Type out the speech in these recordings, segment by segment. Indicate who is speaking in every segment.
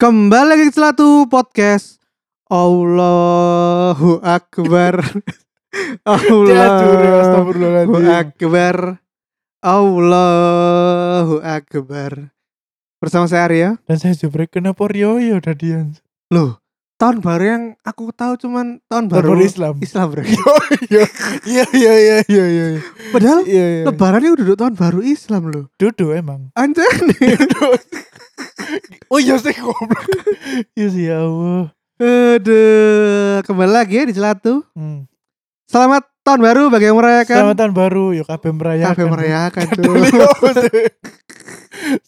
Speaker 1: Kembali lagi ke Celatu Podcast. Allahu Akbar.
Speaker 2: Jatuh,
Speaker 1: Allahu
Speaker 2: astagfirullahaladzim.
Speaker 1: Akbar. Allahu Akbar. Bersama saya Arya.
Speaker 2: Dan saya jebret kenapa Rioyo tadian?
Speaker 1: Loh, tahun baru yang aku tahu cuman tahun baru,
Speaker 2: Baru Islam.
Speaker 1: Islam, bro.
Speaker 2: Iya iya iya iya iya iya.
Speaker 1: Padahal
Speaker 2: Iya iya.
Speaker 1: lebarannya udah tahun baru Islam loh.
Speaker 2: Dudu emang.
Speaker 1: Anjir.
Speaker 2: Oh iya sih goblok. Iya sih ya Allah.
Speaker 1: Aduh, kembali lagi ya di Celatu.
Speaker 2: Hmm.
Speaker 1: Selamat tahun baru bagi yang
Speaker 2: Selamat
Speaker 1: merayakan.
Speaker 2: tahun baru yo Ya kan? kabeh merayakan.
Speaker 1: Kabeh merayakan tuh.
Speaker 2: Iya, sih.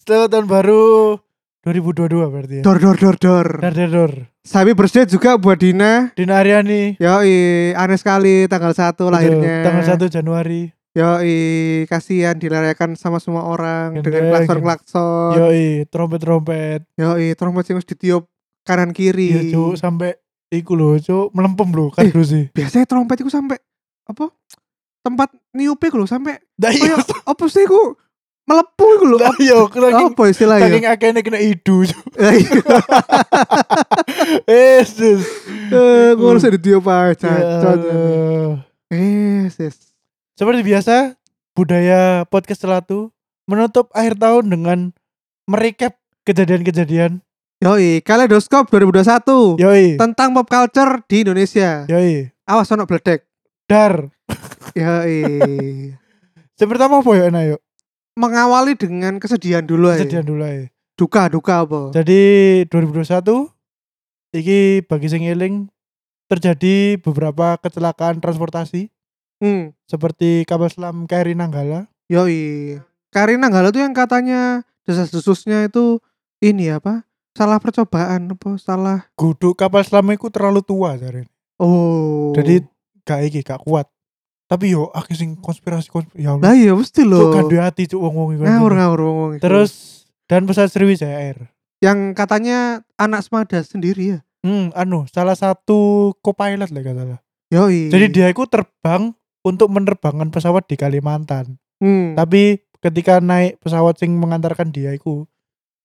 Speaker 2: Selamat tahun baru 2022 berarti ya.
Speaker 1: Dor dor dor dor.
Speaker 2: Dar dar dor.
Speaker 1: Sami birthday juga buat Dina.
Speaker 2: Dina Aryani.
Speaker 1: Yoi, aneh sekali tanggal 1 lahirnya.
Speaker 2: Betul, Tanggal 1 Januari.
Speaker 1: Yoi, kasihan dilerayakan sama semua orang
Speaker 2: Gendeng.
Speaker 1: dengan klakson-klakson.
Speaker 2: Yoi, trompet-trompet.
Speaker 1: Yoi, trompet sing wis ditiup kanan
Speaker 2: Iya,
Speaker 1: kiri.
Speaker 2: Cuk, sampai iku lho, Cuk, melempem lho kardus e. sih.
Speaker 1: Biasanya trompet itu sampai apa? Tempat niupe ku lho sampai
Speaker 2: Dah
Speaker 1: koyo
Speaker 2: iya,
Speaker 1: apa sih ku melepuh ku lho.
Speaker 2: Lah yo, saking
Speaker 1: Apa ya? istilahnya?
Speaker 2: saking akehne kena idu.
Speaker 1: Eh,
Speaker 2: Yesus.
Speaker 1: ngurus ditiup aja.
Speaker 2: Ya
Speaker 1: cocok.
Speaker 2: Allah.
Speaker 1: Eh, sis.
Speaker 2: Seperti biasa, budaya podcast Selatu menutup akhir tahun dengan merecap kejadian-kejadian.
Speaker 1: Yoi, Kaleidoskop 2021
Speaker 2: Yoi.
Speaker 1: tentang pop culture di Indonesia.
Speaker 2: Yoi.
Speaker 1: Awas ono bledek.
Speaker 2: Dar.
Speaker 1: Yoi.
Speaker 2: Seperti apa ya enak yuk?
Speaker 1: Mengawali dengan kesedihan dulu ya.
Speaker 2: Kejadian dulu ae.
Speaker 1: Duka, duka apa?
Speaker 2: Jadi 2021 iki bagi sing eling terjadi beberapa kecelakaan transportasi
Speaker 1: Hmm.
Speaker 2: seperti kapal selam KRI Nanggala.
Speaker 1: Yoi. Karina Nanggala tuh yang katanya desas-desusnya itu ini apa? Salah percobaan apa? Salah.
Speaker 2: Guduk kapal selam itu terlalu tua jare.
Speaker 1: Oh.
Speaker 2: Jadi gak iki gak kuat. Tapi yo aku sing konspirasi konspirasi ya Allah.
Speaker 1: lah iya mesti
Speaker 2: Cuk
Speaker 1: loh.
Speaker 2: gandhe ati cuk wong-wong iku.
Speaker 1: Ngawur ngawur ngomong. itu.
Speaker 2: Terus dan pesawat Sriwijaya Air.
Speaker 1: yang katanya anak semada sendiri ya.
Speaker 2: Hmm, anu salah satu co-pilot lah kata salah.
Speaker 1: Yoi.
Speaker 2: Jadi dia itu terbang untuk menerbangkan pesawat di Kalimantan.
Speaker 1: Hmm.
Speaker 2: Tapi ketika naik pesawat sing mengantarkan dia itu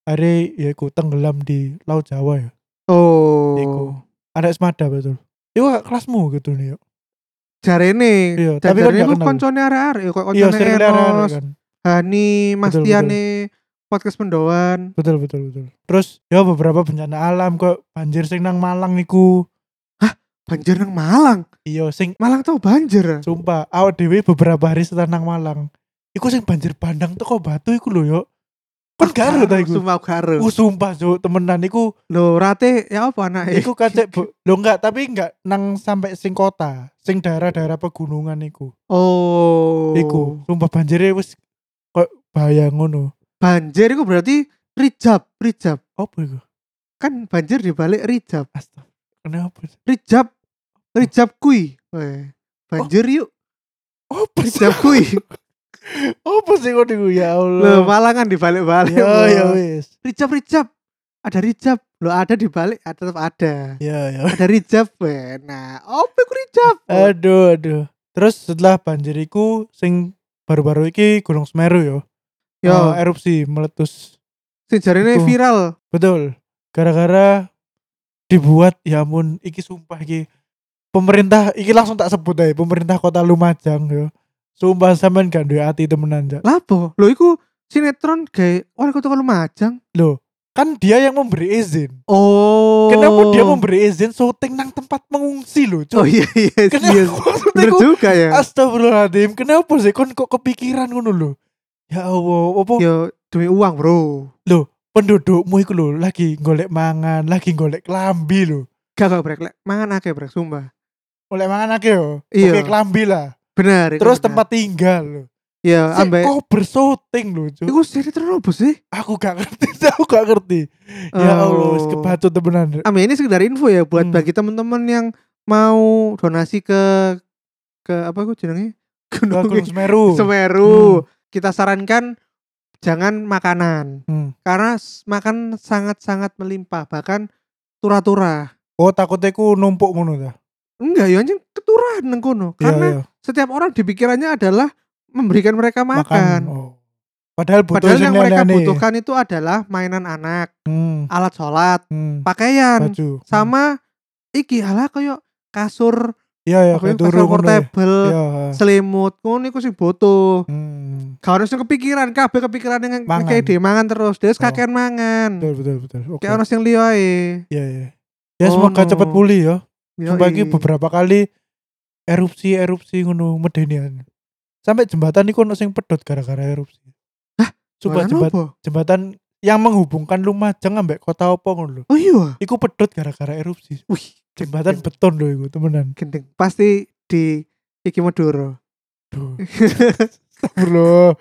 Speaker 2: hari ya iku tenggelam di Laut Jawa ya.
Speaker 1: Oh.
Speaker 2: Iku. Ada semada betul. Iku gak kelasmu gitu nih yuk.
Speaker 1: Jarene.
Speaker 2: Iya, tapi kan
Speaker 1: Jarene
Speaker 2: gak
Speaker 1: ku
Speaker 2: kenal.
Speaker 1: koncone arek-arek ya, kok
Speaker 2: Iya,
Speaker 1: koncone
Speaker 2: sering
Speaker 1: Eros,
Speaker 2: kan.
Speaker 1: Hani, Mas
Speaker 2: Betul,
Speaker 1: Tiane, podcast Mendoan.
Speaker 2: Betul betul betul. Terus ya beberapa bencana alam kok banjir sing nang Malang niku.
Speaker 1: Banjir nang Malang.
Speaker 2: Iya sing
Speaker 1: Malang tau banjir.
Speaker 2: sumpah awak dhewe beberapa hari setelah nang Malang. Iku sing banjir bandang teko Batu iku lho yo. Kan Kon garo ta iku.
Speaker 1: Sumpah garo.
Speaker 2: Ku sumpah Cuk, temenan iku
Speaker 1: Lho, rate ya apa anak
Speaker 2: iku kacek bu- lho enggak tapi enggak nang sampai sing kota, sing daerah-daerah pegunungan iku.
Speaker 1: Oh.
Speaker 2: Iku sumpah banjire wis kok bahaya ngono.
Speaker 1: Banjir iku berarti rijab, rijab.
Speaker 2: Apa iku?
Speaker 1: Kan banjir dibalik rijab.
Speaker 2: Astaga. Kenapa?
Speaker 1: Rijab. Rijab kui. Weh. Banjir
Speaker 2: Oh.
Speaker 1: yuk.
Speaker 2: Apa sih?
Speaker 1: Rijab kui.
Speaker 2: Apa sih kok iku ya
Speaker 1: Lho,
Speaker 2: Allah.
Speaker 1: Malangan dibalik-balik.
Speaker 2: Ya ya
Speaker 1: Lho.
Speaker 2: wis.
Speaker 1: Rijab, rijab. Ada rijab. Lho, ada dibalik, ada tetap ada.
Speaker 2: Ya ya.
Speaker 1: Ada rijab. Weh. Nah, apa iku rijab?
Speaker 2: Aduh aduh. Terus setelah banjiriku sing baru-baru iki Gunung Semeru yo.
Speaker 1: Yo,
Speaker 2: Eh, erupsi meletus.
Speaker 1: sing jarene
Speaker 2: Iku.
Speaker 1: viral.
Speaker 2: Betul. Gara-gara dibuat ya ampun iki sumpah iki pemerintah iki langsung tak sebut aja pemerintah kota Lumajang yo. Sumpah sampean gak duwe ati temenan Cak.
Speaker 1: Lapo? Lho iku sinetron gawe wali kota Lumajang.
Speaker 2: Loh, kan dia yang memberi izin.
Speaker 1: Oh.
Speaker 2: Kenapa dia memberi izin syuting nang tempat mengungsi loh,
Speaker 1: Oh
Speaker 2: cuy?
Speaker 1: iya iya
Speaker 2: Kenapa?
Speaker 1: iya.
Speaker 2: Maksudnya
Speaker 1: Bener
Speaker 2: ku-
Speaker 1: juga ya.
Speaker 2: Astagfirullahaladzim, kenapa sih kon kok kepikiran ngono lho? Ya Allah, apa
Speaker 1: Yo demi Iya, uang, Bro.
Speaker 2: pendudukmu iku lho lagi golek mangan, lagi golek klambi lho.
Speaker 1: Gak gak brek lek mangan akeh brek sumpah.
Speaker 2: Golek mangan akeh yo.
Speaker 1: Iya.
Speaker 2: Oke klambi lah.
Speaker 1: Benar. iku
Speaker 2: Terus
Speaker 1: benar.
Speaker 2: tempat tinggal lho.
Speaker 1: Iya,
Speaker 2: Sik
Speaker 1: ambek
Speaker 2: kok bersyuting lho, Cuk.
Speaker 1: Iku sinetron apa sih?
Speaker 2: Aku gak ngerti, aku gak ngerti. Ya
Speaker 1: Oh.
Speaker 2: Allah, wis kebatut temenan.
Speaker 1: Ambek ini sekedar info ya buat
Speaker 2: Hmm.
Speaker 1: bagi teman-teman yang mau donasi ke ke apa iku jenenge?
Speaker 2: Wah, Gunung
Speaker 1: Gunung
Speaker 2: Semeru.
Speaker 1: Semeru. Kita sarankan jangan makanan.
Speaker 2: Hmm.
Speaker 1: karena s- makan sangat-sangat melimpah bahkan tura-tura
Speaker 2: Oh, takutnya ku numpuk ngono ta.
Speaker 1: enggak ya anjing keturah neng kono
Speaker 2: Iya,
Speaker 1: karena
Speaker 2: iya.
Speaker 1: setiap orang di pikirannya adalah memberikan mereka makan,
Speaker 2: Oh. Padahal butuh
Speaker 1: Padahal yang mereka
Speaker 2: aneh-aneh.
Speaker 1: butuhkan itu adalah mainan anak,
Speaker 2: Hmm,
Speaker 1: alat sholat,
Speaker 2: hmm,
Speaker 1: pakaian,
Speaker 2: baju.
Speaker 1: sama iki halah koyo kasur,
Speaker 2: Iya ya,
Speaker 1: apa ya,
Speaker 2: kayak
Speaker 1: kasur
Speaker 2: turu ngono ya.
Speaker 1: portable,
Speaker 2: Iya.
Speaker 1: selimut, ngono iku sih butuh.
Speaker 2: Hmm,
Speaker 1: Gak harusnya kepikiran, kabeh kepikiran dengan
Speaker 2: Mangan.
Speaker 1: kayak di mangan terus, dia
Speaker 2: Oh.
Speaker 1: kakean mangan.
Speaker 2: betul betul betul. Oke.
Speaker 1: Kayak ono sing liya ae.
Speaker 2: Iya iya.
Speaker 1: Oh,
Speaker 2: Ya semoga
Speaker 1: no.
Speaker 2: cepat pulih ya.
Speaker 1: Yoi.
Speaker 2: Sumpah iki beberapa kali erupsi erupsi ngono medenian. Sampai jembatan iku ono sing pedot gara-gara erupsi. Sumpah
Speaker 1: Walan
Speaker 2: jembat-
Speaker 1: apa?
Speaker 2: jembatan yang menghubungkan Lumajang ambek kota apa ngono lho.
Speaker 1: Oh iya.
Speaker 2: Iku pedot gara-gara erupsi.
Speaker 1: Wih, Iya.
Speaker 2: Jembatan beton lho iku, temenan.
Speaker 1: gendeng. Pasti di iki Madura.
Speaker 2: Duh. Sabar lho.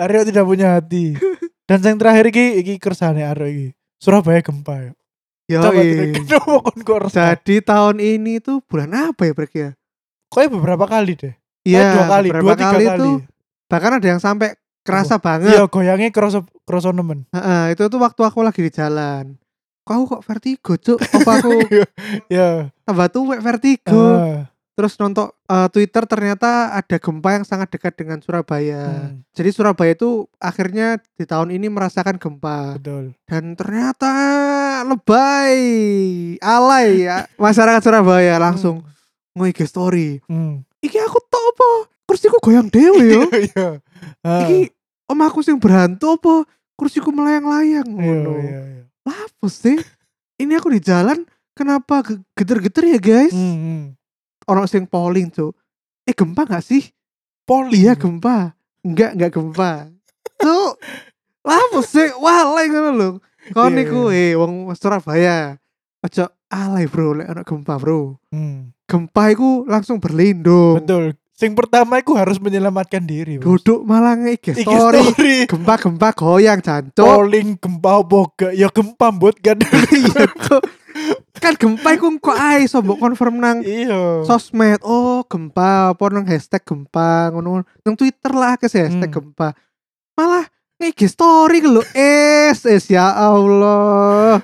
Speaker 2: Aryo tidak punya hati. Dan yang terakhir iki iki kersane Aryo iki. Surabaya gempa ya. Coba
Speaker 1: Yoi.
Speaker 2: kenapa kon kok resah?
Speaker 1: Jadi tahun ini tuh bulan apa ya pergi ya?
Speaker 2: Kok beberapa kali deh.
Speaker 1: Iya,
Speaker 2: Kayak Eh, dua kali,
Speaker 1: beberapa
Speaker 2: dua tiga kali.
Speaker 1: itu bahkan ada yang sampai kerasa banget.
Speaker 2: Iya, goyangnya kroso kroso nemen.
Speaker 1: Heeh, itu tuh waktu aku lagi di jalan. Kok aku kok vertigo, Cuk? Apa aku
Speaker 2: Iya.
Speaker 1: tambah tuwek vertigo?
Speaker 2: Ah,
Speaker 1: Terus nonton eh, Twitter ternyata ada gempa yang sangat dekat dengan Surabaya.
Speaker 2: hmm,
Speaker 1: Jadi Surabaya itu akhirnya di tahun ini merasakan gempa
Speaker 2: betul.
Speaker 1: dan ternyata lebay alay ya masyarakat Surabaya langsung nge story.
Speaker 2: Hmm.
Speaker 1: Iki aku tok apa? Kursiku goyang dewe yo.
Speaker 2: Iya. Ah,
Speaker 1: Iki om aku sing berhantu apa? Kursiku melayang-layang
Speaker 2: Iya,
Speaker 1: ngono.
Speaker 2: iya, iya.
Speaker 1: Apa sih? Ini aku di jalan kenapa ge- geter-geter ya guys?
Speaker 2: Hmm, hmm.
Speaker 1: Orang sing polling tuh. Eh gempa gak sih?
Speaker 2: Poli.
Speaker 1: Iya gempa. Enggak, enggak gempa. Tuh. Lah apa sih? Walai ngono lho. Kon
Speaker 2: Iya,
Speaker 1: niku eh wong Surabaya. Ojo alay bro lek ana gempa, bro.
Speaker 2: Hmm.
Speaker 1: Gempa iku langsung berlindung.
Speaker 2: Betul. Sing pertama aku harus menyelamatkan diri. Bos.
Speaker 1: Duduk malah nge
Speaker 2: Iki
Speaker 1: story.
Speaker 2: story. Oh.
Speaker 1: Gempa-gempa goyang jancuk.
Speaker 2: Polling gempa boga. Ya gempa buat kan.
Speaker 1: Iya, kok. kan gempa iku kok ae iso mbok confirm nang
Speaker 2: Iya.
Speaker 1: sosmed. Oh, gempa apa nang hashtag gempa ngono. Nang Twitter lah ke hashtag
Speaker 2: Hmm.
Speaker 1: gempa. Malah ngegi story ke lo es es ya Allah.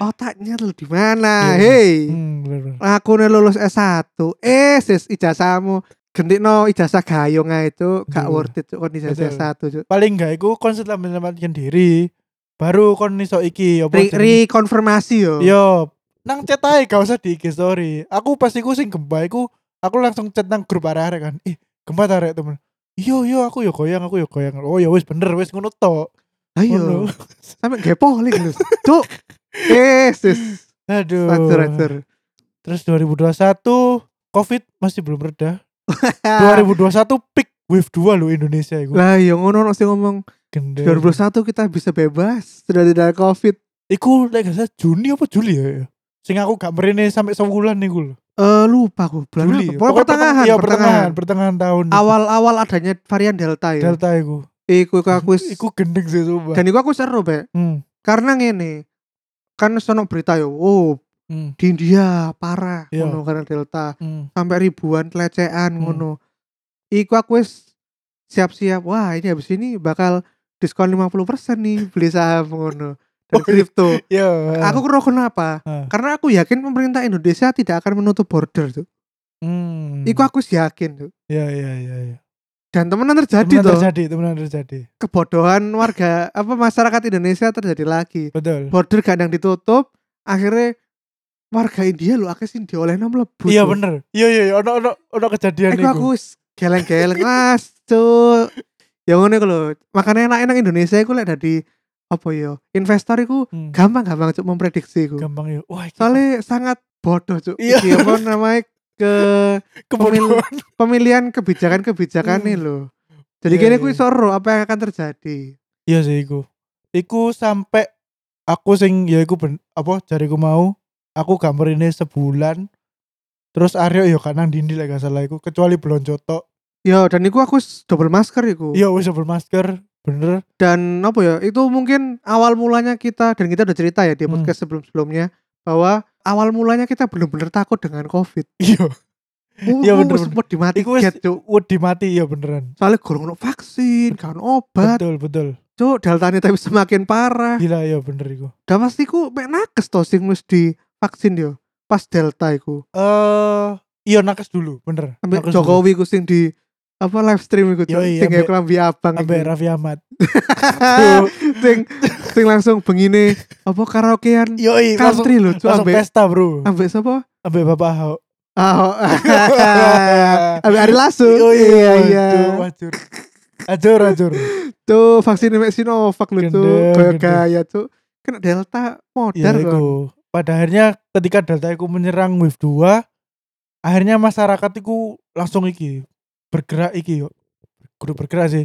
Speaker 1: Otaknya lu di mana?
Speaker 2: Iya.
Speaker 1: Hei.
Speaker 2: Hmm, bener.
Speaker 1: Aku nih lulus S1. Es es ijazahmu. Gendikno ijazah gayung ae itu gak
Speaker 2: Betul.
Speaker 1: worth it Cuk, kon ijazah
Speaker 2: Hmm. Betul.
Speaker 1: S1 Cuk.
Speaker 2: Paling enggak iku kon setelah menyelamatkan diri baru kon iso iki ya, apa
Speaker 1: Re-
Speaker 2: jenenge? Iya.
Speaker 1: Rekonfirmasi yo.
Speaker 2: Yo, nang chat ae gak usah di IG story. Aku pasti ku sing gempa iku aku langsung chat nang grup arek-arek kan. Ih, gempa ta arek temen. Yo yo aku yo goyang, aku yo goyang. Oh ya wis bener wis ngono tok.
Speaker 1: Ayo.
Speaker 2: Ngono.
Speaker 1: sampai gepo lagi lu cuk yes yes
Speaker 2: Aduh.
Speaker 1: hancur hancur
Speaker 2: Terus 2021 Covid masih belum reda. 2021 peak wave 2 loh Indonesia iku.
Speaker 1: Ah. lah yang ngono sih ngomong
Speaker 2: Gendeng.
Speaker 1: 2021 kita bisa bebas sudah tidak ada covid
Speaker 2: Iku lek gak salah Juni apa Juli ya? ya? Sing aku gak merene sampai sewulan niku lho.
Speaker 1: eh lupa aku bulan
Speaker 2: Juli.
Speaker 1: apa? Pokoknya
Speaker 2: Pokoknya
Speaker 1: pertengahan
Speaker 2: iya,
Speaker 1: pertengahan
Speaker 2: pertengahan, pertengahan tahun. iku.
Speaker 1: awal awal adanya varian delta ya
Speaker 2: Delta iku.
Speaker 1: iku iku aku wis-
Speaker 2: Iku gendeng sih sumpah.
Speaker 1: dan iku aku seru be
Speaker 2: Hmm.
Speaker 1: karena ngene kan sono berita yo oh
Speaker 2: Hmm.
Speaker 1: di India parah
Speaker 2: Iya.
Speaker 1: ngono karena delta
Speaker 2: Hmm.
Speaker 1: sampai ribuan pelecehan
Speaker 2: Hmm.
Speaker 1: ngono iku aku wis siap-siap wah ini habis ini bakal diskon 50% nih beli saham ngono dan
Speaker 2: Oh, iya.
Speaker 1: kripto
Speaker 2: Ya.
Speaker 1: aku kira kenapa
Speaker 2: Ah.
Speaker 1: karena aku yakin pemerintah Indonesia tidak akan menutup border tuh
Speaker 2: Hmm.
Speaker 1: iku aku wis yakin tuh
Speaker 2: Ya ya ya ya.
Speaker 1: dan temenan terjadi
Speaker 2: Temenan
Speaker 1: tuh
Speaker 2: terjadi, temenan terjadi.
Speaker 1: kebodohan warga apa masyarakat Indonesia terjadi lagi
Speaker 2: Betul.
Speaker 1: border kadang ditutup akhirnya warga India lu akhirnya sing dioleh nom lebu
Speaker 2: Iya
Speaker 1: tuh.
Speaker 2: bener. Iya iya iya. ono ono ono kejadian
Speaker 1: Iku
Speaker 2: iku.
Speaker 1: aku wis geleng-geleng mas cuk. Ya ngono iku lho. Makane enak nang Indonesia iku lek dadi apa ya? Investor iku
Speaker 2: Hmm.
Speaker 1: gampang-gampang cuk memprediksi iku.
Speaker 2: Gampang ya. Wah, iki
Speaker 1: Soalnya sangat bodoh cuk.
Speaker 2: Iya.
Speaker 1: Iki apa namanya ke
Speaker 2: kebodohan.
Speaker 1: pemilihan kebijakan-kebijakan nih lho. Jadi
Speaker 2: Hmm. Iya,
Speaker 1: kene
Speaker 2: iya.
Speaker 1: kuwi soro apa yang akan terjadi.
Speaker 2: Iya sih iku. Iku sampai aku sing ya iku ben, apa jariku mau aku gambar ini sebulan terus Aryo yo kan nang dindi lek gak salah iku kecuali blonjo tok.
Speaker 1: Ya dan iku aku s- double masker iku.
Speaker 2: Iya wis double masker bener.
Speaker 1: Dan apa ya? Itu mungkin awal mulanya kita dan kita udah cerita ya di
Speaker 2: Hmm.
Speaker 1: podcast sebelum-sebelumnya bahwa awal mulanya kita bener-bener takut dengan COVID.
Speaker 2: Iya.
Speaker 1: Iya
Speaker 2: Iya,
Speaker 1: bener wis
Speaker 2: bener, bener.
Speaker 1: sempat dimati
Speaker 2: Iku wis-
Speaker 1: ket, Cuk.
Speaker 2: Wedi mati ya beneran.
Speaker 1: Soalnya gorong ono vaksin, kan obat,
Speaker 2: Betul betul.
Speaker 1: Cuk. Deltanya tapi semakin parah.
Speaker 2: Gila ya bener iku.
Speaker 1: Dan pasti ku mek nakes to sing wis di vaksin yo. Pas delta iku.
Speaker 2: Eh, iya nakes dulu, bener.
Speaker 1: Ambek
Speaker 2: Nakes dulu.
Speaker 1: Jokowi ku sing di apa live stream iku Cuk?
Speaker 2: Yoi,
Speaker 1: sing
Speaker 2: ambek-
Speaker 1: klambi abang
Speaker 2: Sampai
Speaker 1: iku.
Speaker 2: Raffi Ahmad.
Speaker 1: Ah, sing sing langsung bengine apa karaokean
Speaker 2: Yoi, langsung,
Speaker 1: country lho Cuk
Speaker 2: langsung
Speaker 1: ambek
Speaker 2: pesta bro.
Speaker 1: ambek sapa?
Speaker 2: Sampai Bapak Ahok.
Speaker 1: Ahok. Ambek Ari Lasso.
Speaker 2: Yoi,
Speaker 1: Iya iya.
Speaker 2: Wajur, wajur. Ajur, ajur.
Speaker 1: Tuh vaksin mek Sinovac lho Cuk.
Speaker 2: Gendeng,
Speaker 1: Kayak
Speaker 2: gendeng.
Speaker 1: kaya Cuk. Kena Delta
Speaker 2: Ya,
Speaker 1: modar kok.
Speaker 2: iku. Pada akhirnya ketika Delta iku menyerang Wave 2, akhirnya masyarakat iku langsung iki bergerak iki yo. Kudu bergerak sih.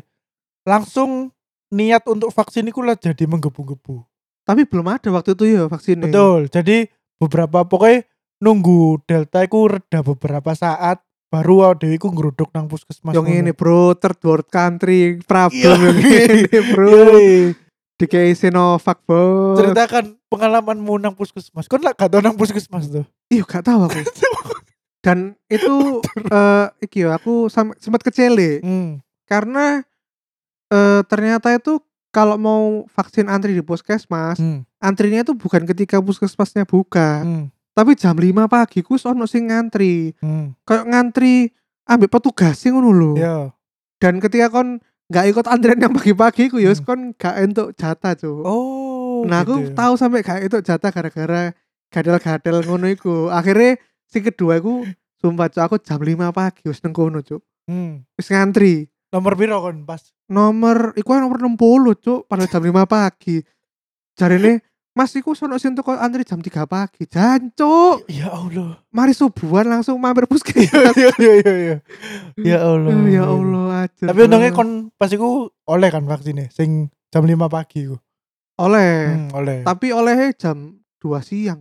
Speaker 2: Langsung niat untuk vaksin iku lah jadi menggebu-gebu.
Speaker 1: Tapi belum ada waktu itu ya vaksinnya.
Speaker 2: Betul. Jadi beberapa pokoknya nunggu Delta iku reda beberapa saat baru awak dhewe iku ngeruduk nang puskesmas.
Speaker 1: Yang ini
Speaker 2: ngono.
Speaker 1: bro, third world country problem
Speaker 2: Iya.
Speaker 1: yang ini bro.
Speaker 2: Yoi.
Speaker 1: Dikei Sinovac bro.
Speaker 2: Ceritakan pengalamanmu nang puskesmas. Kon lah gak tau nang puskesmas tuh.
Speaker 1: Iya gak tahu aku. Dan itu eh iki yo, aku sam- sempat kecele
Speaker 2: Hmm.
Speaker 1: karena eh ternyata itu kalau mau vaksin antri di puskesmas,
Speaker 2: Hmm.
Speaker 1: antrinya itu bukan ketika puskesmasnya buka,
Speaker 2: Hmm.
Speaker 1: tapi jam 5 pagi ku wis ono sing ngantri.
Speaker 2: hmm.
Speaker 1: Kayak ngantri ambek petugas sih ngono lho.
Speaker 2: Ya.
Speaker 1: Dan ketika kon nggak ikut antrian yang pagi-pagi ku yo wis kon
Speaker 2: Hmm.
Speaker 1: gak entuk jatah, Cuk.
Speaker 2: Oh.
Speaker 1: Nah aku
Speaker 2: gitu ya.
Speaker 1: tahu sampai gak itu jatah gara-gara gadel-gadel ngono iku. Akhirnya si kedua aku sumpah cuk aku jam 5 pagi wis nang kono cuk.
Speaker 2: Hmm.
Speaker 1: Wis ngantri.
Speaker 2: Nomor piro kon pas?
Speaker 1: Nomor iku kan nomor 60 cuk pada jam 5 pagi. Jarene Mas iku sono sing teko antri jam 3 pagi. Jan cuk,
Speaker 2: Ya Allah.
Speaker 1: mari subuhan langsung mampir puskesmas.
Speaker 2: ya ya ya ya. Ya Allah.
Speaker 1: Eh, ya Allah aja.
Speaker 2: Tapi untungnya kon pas iku oleh kan vaksinnya sing jam 5 pagi iku.
Speaker 1: oleh.
Speaker 2: Hmm, oleh.
Speaker 1: Tapi olehnya jam 2 siang.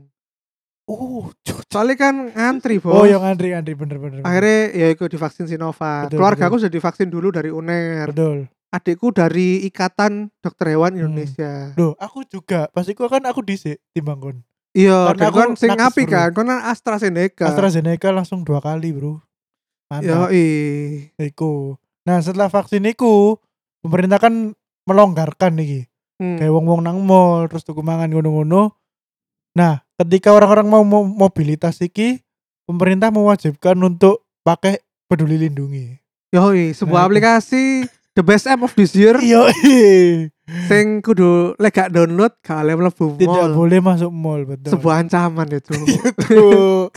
Speaker 2: Oh, cu-
Speaker 1: Soalnya kan ngantri, Bos.
Speaker 2: Oh, yang antri antri bener bener. bener.
Speaker 1: akhirnya ya ikut divaksin Sinovac.
Speaker 2: Betul,
Speaker 1: Keluarga
Speaker 2: betul. Hmm.
Speaker 1: aku sudah divaksin dulu dari UNER.
Speaker 2: betul.
Speaker 1: Adikku dari Ikatan Dokter Hewan
Speaker 2: Hmm.
Speaker 1: Indonesia.
Speaker 2: Duh, aku juga. Pas iku kan aku dhisik timbang kon.
Speaker 1: Iya,
Speaker 2: Karena
Speaker 1: dan
Speaker 2: aku
Speaker 1: kan sing
Speaker 2: nakes,
Speaker 1: api
Speaker 2: bro.
Speaker 1: kan, kan AstraZeneca.
Speaker 2: AstraZeneca langsung dua kali,
Speaker 1: Yo,
Speaker 2: Bro. Mantap. Iku. Nah, setelah vaksin iku, pemerintah kan melonggarkan iki.
Speaker 1: Hmm.
Speaker 2: kayak wong-wong nang mall terus tuku mangan ngono-ngono. Nah, ketika orang-orang mau mau mobilitas iki, pemerintah mewajibkan untuk pakai peduli lindungi.
Speaker 1: sebuah
Speaker 2: Nah,
Speaker 1: aplikasi the best app of this year
Speaker 2: Iya,
Speaker 1: sing kudu lek gak download gak oleh mlebu
Speaker 2: tidak
Speaker 1: mall.
Speaker 2: boleh Iya, masuk mall betul.
Speaker 1: Sebuah ancaman itu.
Speaker 2: Tuh,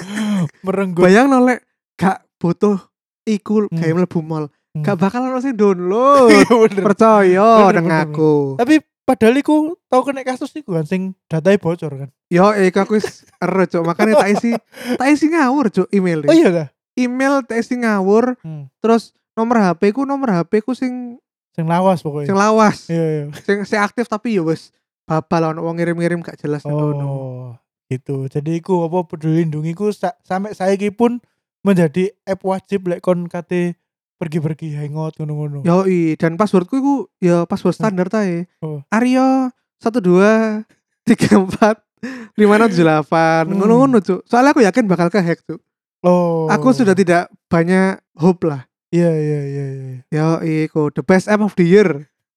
Speaker 2: merenggut.
Speaker 1: Bayang lek gak butuh iku
Speaker 2: Hmm.
Speaker 1: kayak mlebu mall.
Speaker 2: Hmm.
Speaker 1: Gak bakal ono sing download.
Speaker 2: Iya, bener.
Speaker 1: Percaya
Speaker 2: Bener,
Speaker 1: nang
Speaker 2: bener,
Speaker 1: aku.
Speaker 2: Tapi padahal iku tau kena kasus iku kan sing datanya bocor kan.
Speaker 1: Yo, eh aku wis ero cuk, makanya tak isi tak isi ngawur cuk email.
Speaker 2: Oh iya kah?
Speaker 1: Email tak isi ngawur,
Speaker 2: Hmm.
Speaker 1: terus nomor HP ku nomor HP ku sing
Speaker 2: Sing lawas
Speaker 1: sing
Speaker 2: pokoknya.
Speaker 1: lawas,
Speaker 2: Iya, iya.
Speaker 1: sing sing aktif tapi ya wis babal ono wong ngirim-ngirim gak jelas ngono.
Speaker 2: Oh, gitu. Jadi iku apa peduli lindungi ku sa sampai saiki pun menjadi app wajib lek kon kate pergi-pergi hangout ngono-ngono.
Speaker 1: Yo, dan passwordku iku ya password standar ta e.
Speaker 2: Oh.
Speaker 1: Aryo 12 34 578
Speaker 2: Hmm.
Speaker 1: ngono-ngono cuk. Soalnya aku yakin bakal kehack cuk.
Speaker 2: Oh.
Speaker 1: Aku sudah tidak banyak hope lah.
Speaker 2: Iya, iya, iya, iya.
Speaker 1: Yo, iku the best app of the year.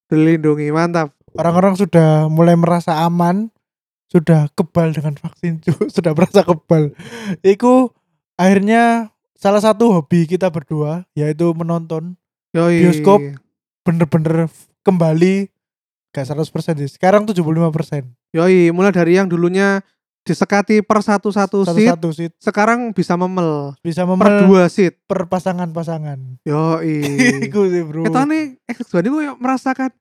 Speaker 1: Dilindungi mantap.
Speaker 2: Orang-orang sudah mulai merasa aman, sudah kebal dengan vaksin, cu. sudah merasa kebal. Iku akhirnya salah satu hobi kita berdua yaitu menonton
Speaker 1: Yoi.
Speaker 2: Bioskop. bener-bener f- kembali gak 100% sih. Sekarang 75%.
Speaker 1: Yoi, mulai dari yang dulunya disekati per satu-satu seat,
Speaker 2: Satu-satu seat
Speaker 1: sekarang bisa memel
Speaker 2: bisa
Speaker 1: per Iya.
Speaker 2: memel
Speaker 1: dua seat.
Speaker 2: per pasangan-pasangan.
Speaker 1: Yoi.
Speaker 2: Iku sih bro.
Speaker 1: Kita nih X1 ini gue merasakan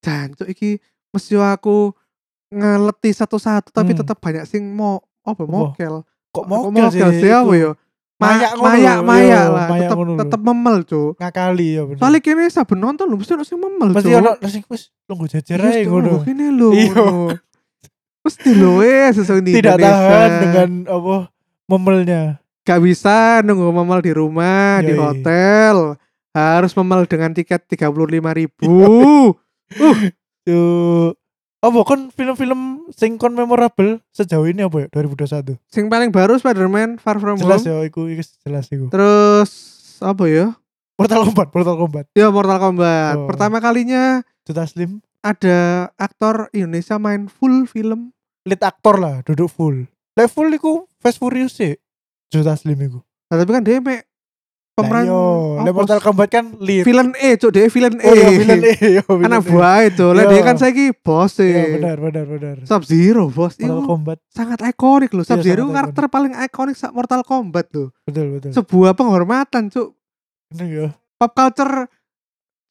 Speaker 1: jancuk iki mesti aku ngeleti satu-satu tapi
Speaker 2: Hmm.
Speaker 1: tetap banyak sing mau apa mokel.
Speaker 2: kok
Speaker 1: Aku
Speaker 2: mokel sih?
Speaker 1: sih apa ya?
Speaker 2: iku.
Speaker 1: yo? Mayak
Speaker 2: Mayak ngono
Speaker 1: mayak
Speaker 2: lho,
Speaker 1: mayak
Speaker 2: yo,
Speaker 1: lah.
Speaker 2: mayak
Speaker 1: Tetap
Speaker 2: ngono lho.
Speaker 1: tetap memel, Cuk.
Speaker 2: ngakali ya bener.
Speaker 1: Soalnya kini saben nonton lu mesti ono sing memel,
Speaker 2: mesti
Speaker 1: Cuk.
Speaker 2: ono sing wis tunggu jajar
Speaker 1: Iya,
Speaker 2: ae
Speaker 1: Cuk,
Speaker 2: ngono.
Speaker 1: Kene lho.
Speaker 2: Iya.
Speaker 1: ngono. Mesti lho eh sesuai di
Speaker 2: Tidak tahan
Speaker 1: Indonesia.
Speaker 2: dengan apa memelnya.
Speaker 1: gak bisa nunggu memel di rumah di
Speaker 2: Yoi.
Speaker 1: hotel harus memel dengan tiket 35.000
Speaker 2: Iya.
Speaker 1: ribu
Speaker 2: Tuh. Apa kon film-film sing kon memorable sejauh ini apa ya 2021?
Speaker 1: sing paling baru Spider-Man Far From
Speaker 2: Jelas
Speaker 1: Home
Speaker 2: ya iku iku jelas iku.
Speaker 1: terus apa ya
Speaker 2: Mortal Kombat, Mortal Kombat.
Speaker 1: ya Mortal Kombat
Speaker 2: Oh.
Speaker 1: pertama kalinya
Speaker 2: Juta Slim
Speaker 1: ada aktor Indonesia main full film
Speaker 2: lead aktor lah duduk full. Level iku Fast Furious sih. Juta Slim iku.
Speaker 1: nah, tapi kan dia mek pemeran
Speaker 2: yo,
Speaker 1: apa,
Speaker 2: le iya, Mortal Kombat kan lead.
Speaker 1: villain E cok dia villain E
Speaker 2: Oh, iya, villain E, yo, villain
Speaker 1: anak
Speaker 2: E.
Speaker 1: buah itu lah
Speaker 2: Yo.
Speaker 1: dia kan saya bos eh.
Speaker 2: Iya,
Speaker 1: sih
Speaker 2: benar, benar, benar.
Speaker 1: Sub Zero bos
Speaker 2: Mortal
Speaker 1: itu
Speaker 2: Kombat. Iya,
Speaker 1: sangat ikonik loh Sub Zero
Speaker 2: sangat Iya.
Speaker 1: karakter paling ikonik saat Mortal Kombat loh
Speaker 2: Betul, betul.
Speaker 1: sebuah penghormatan cok
Speaker 2: Ini ya. yo,
Speaker 1: pop culture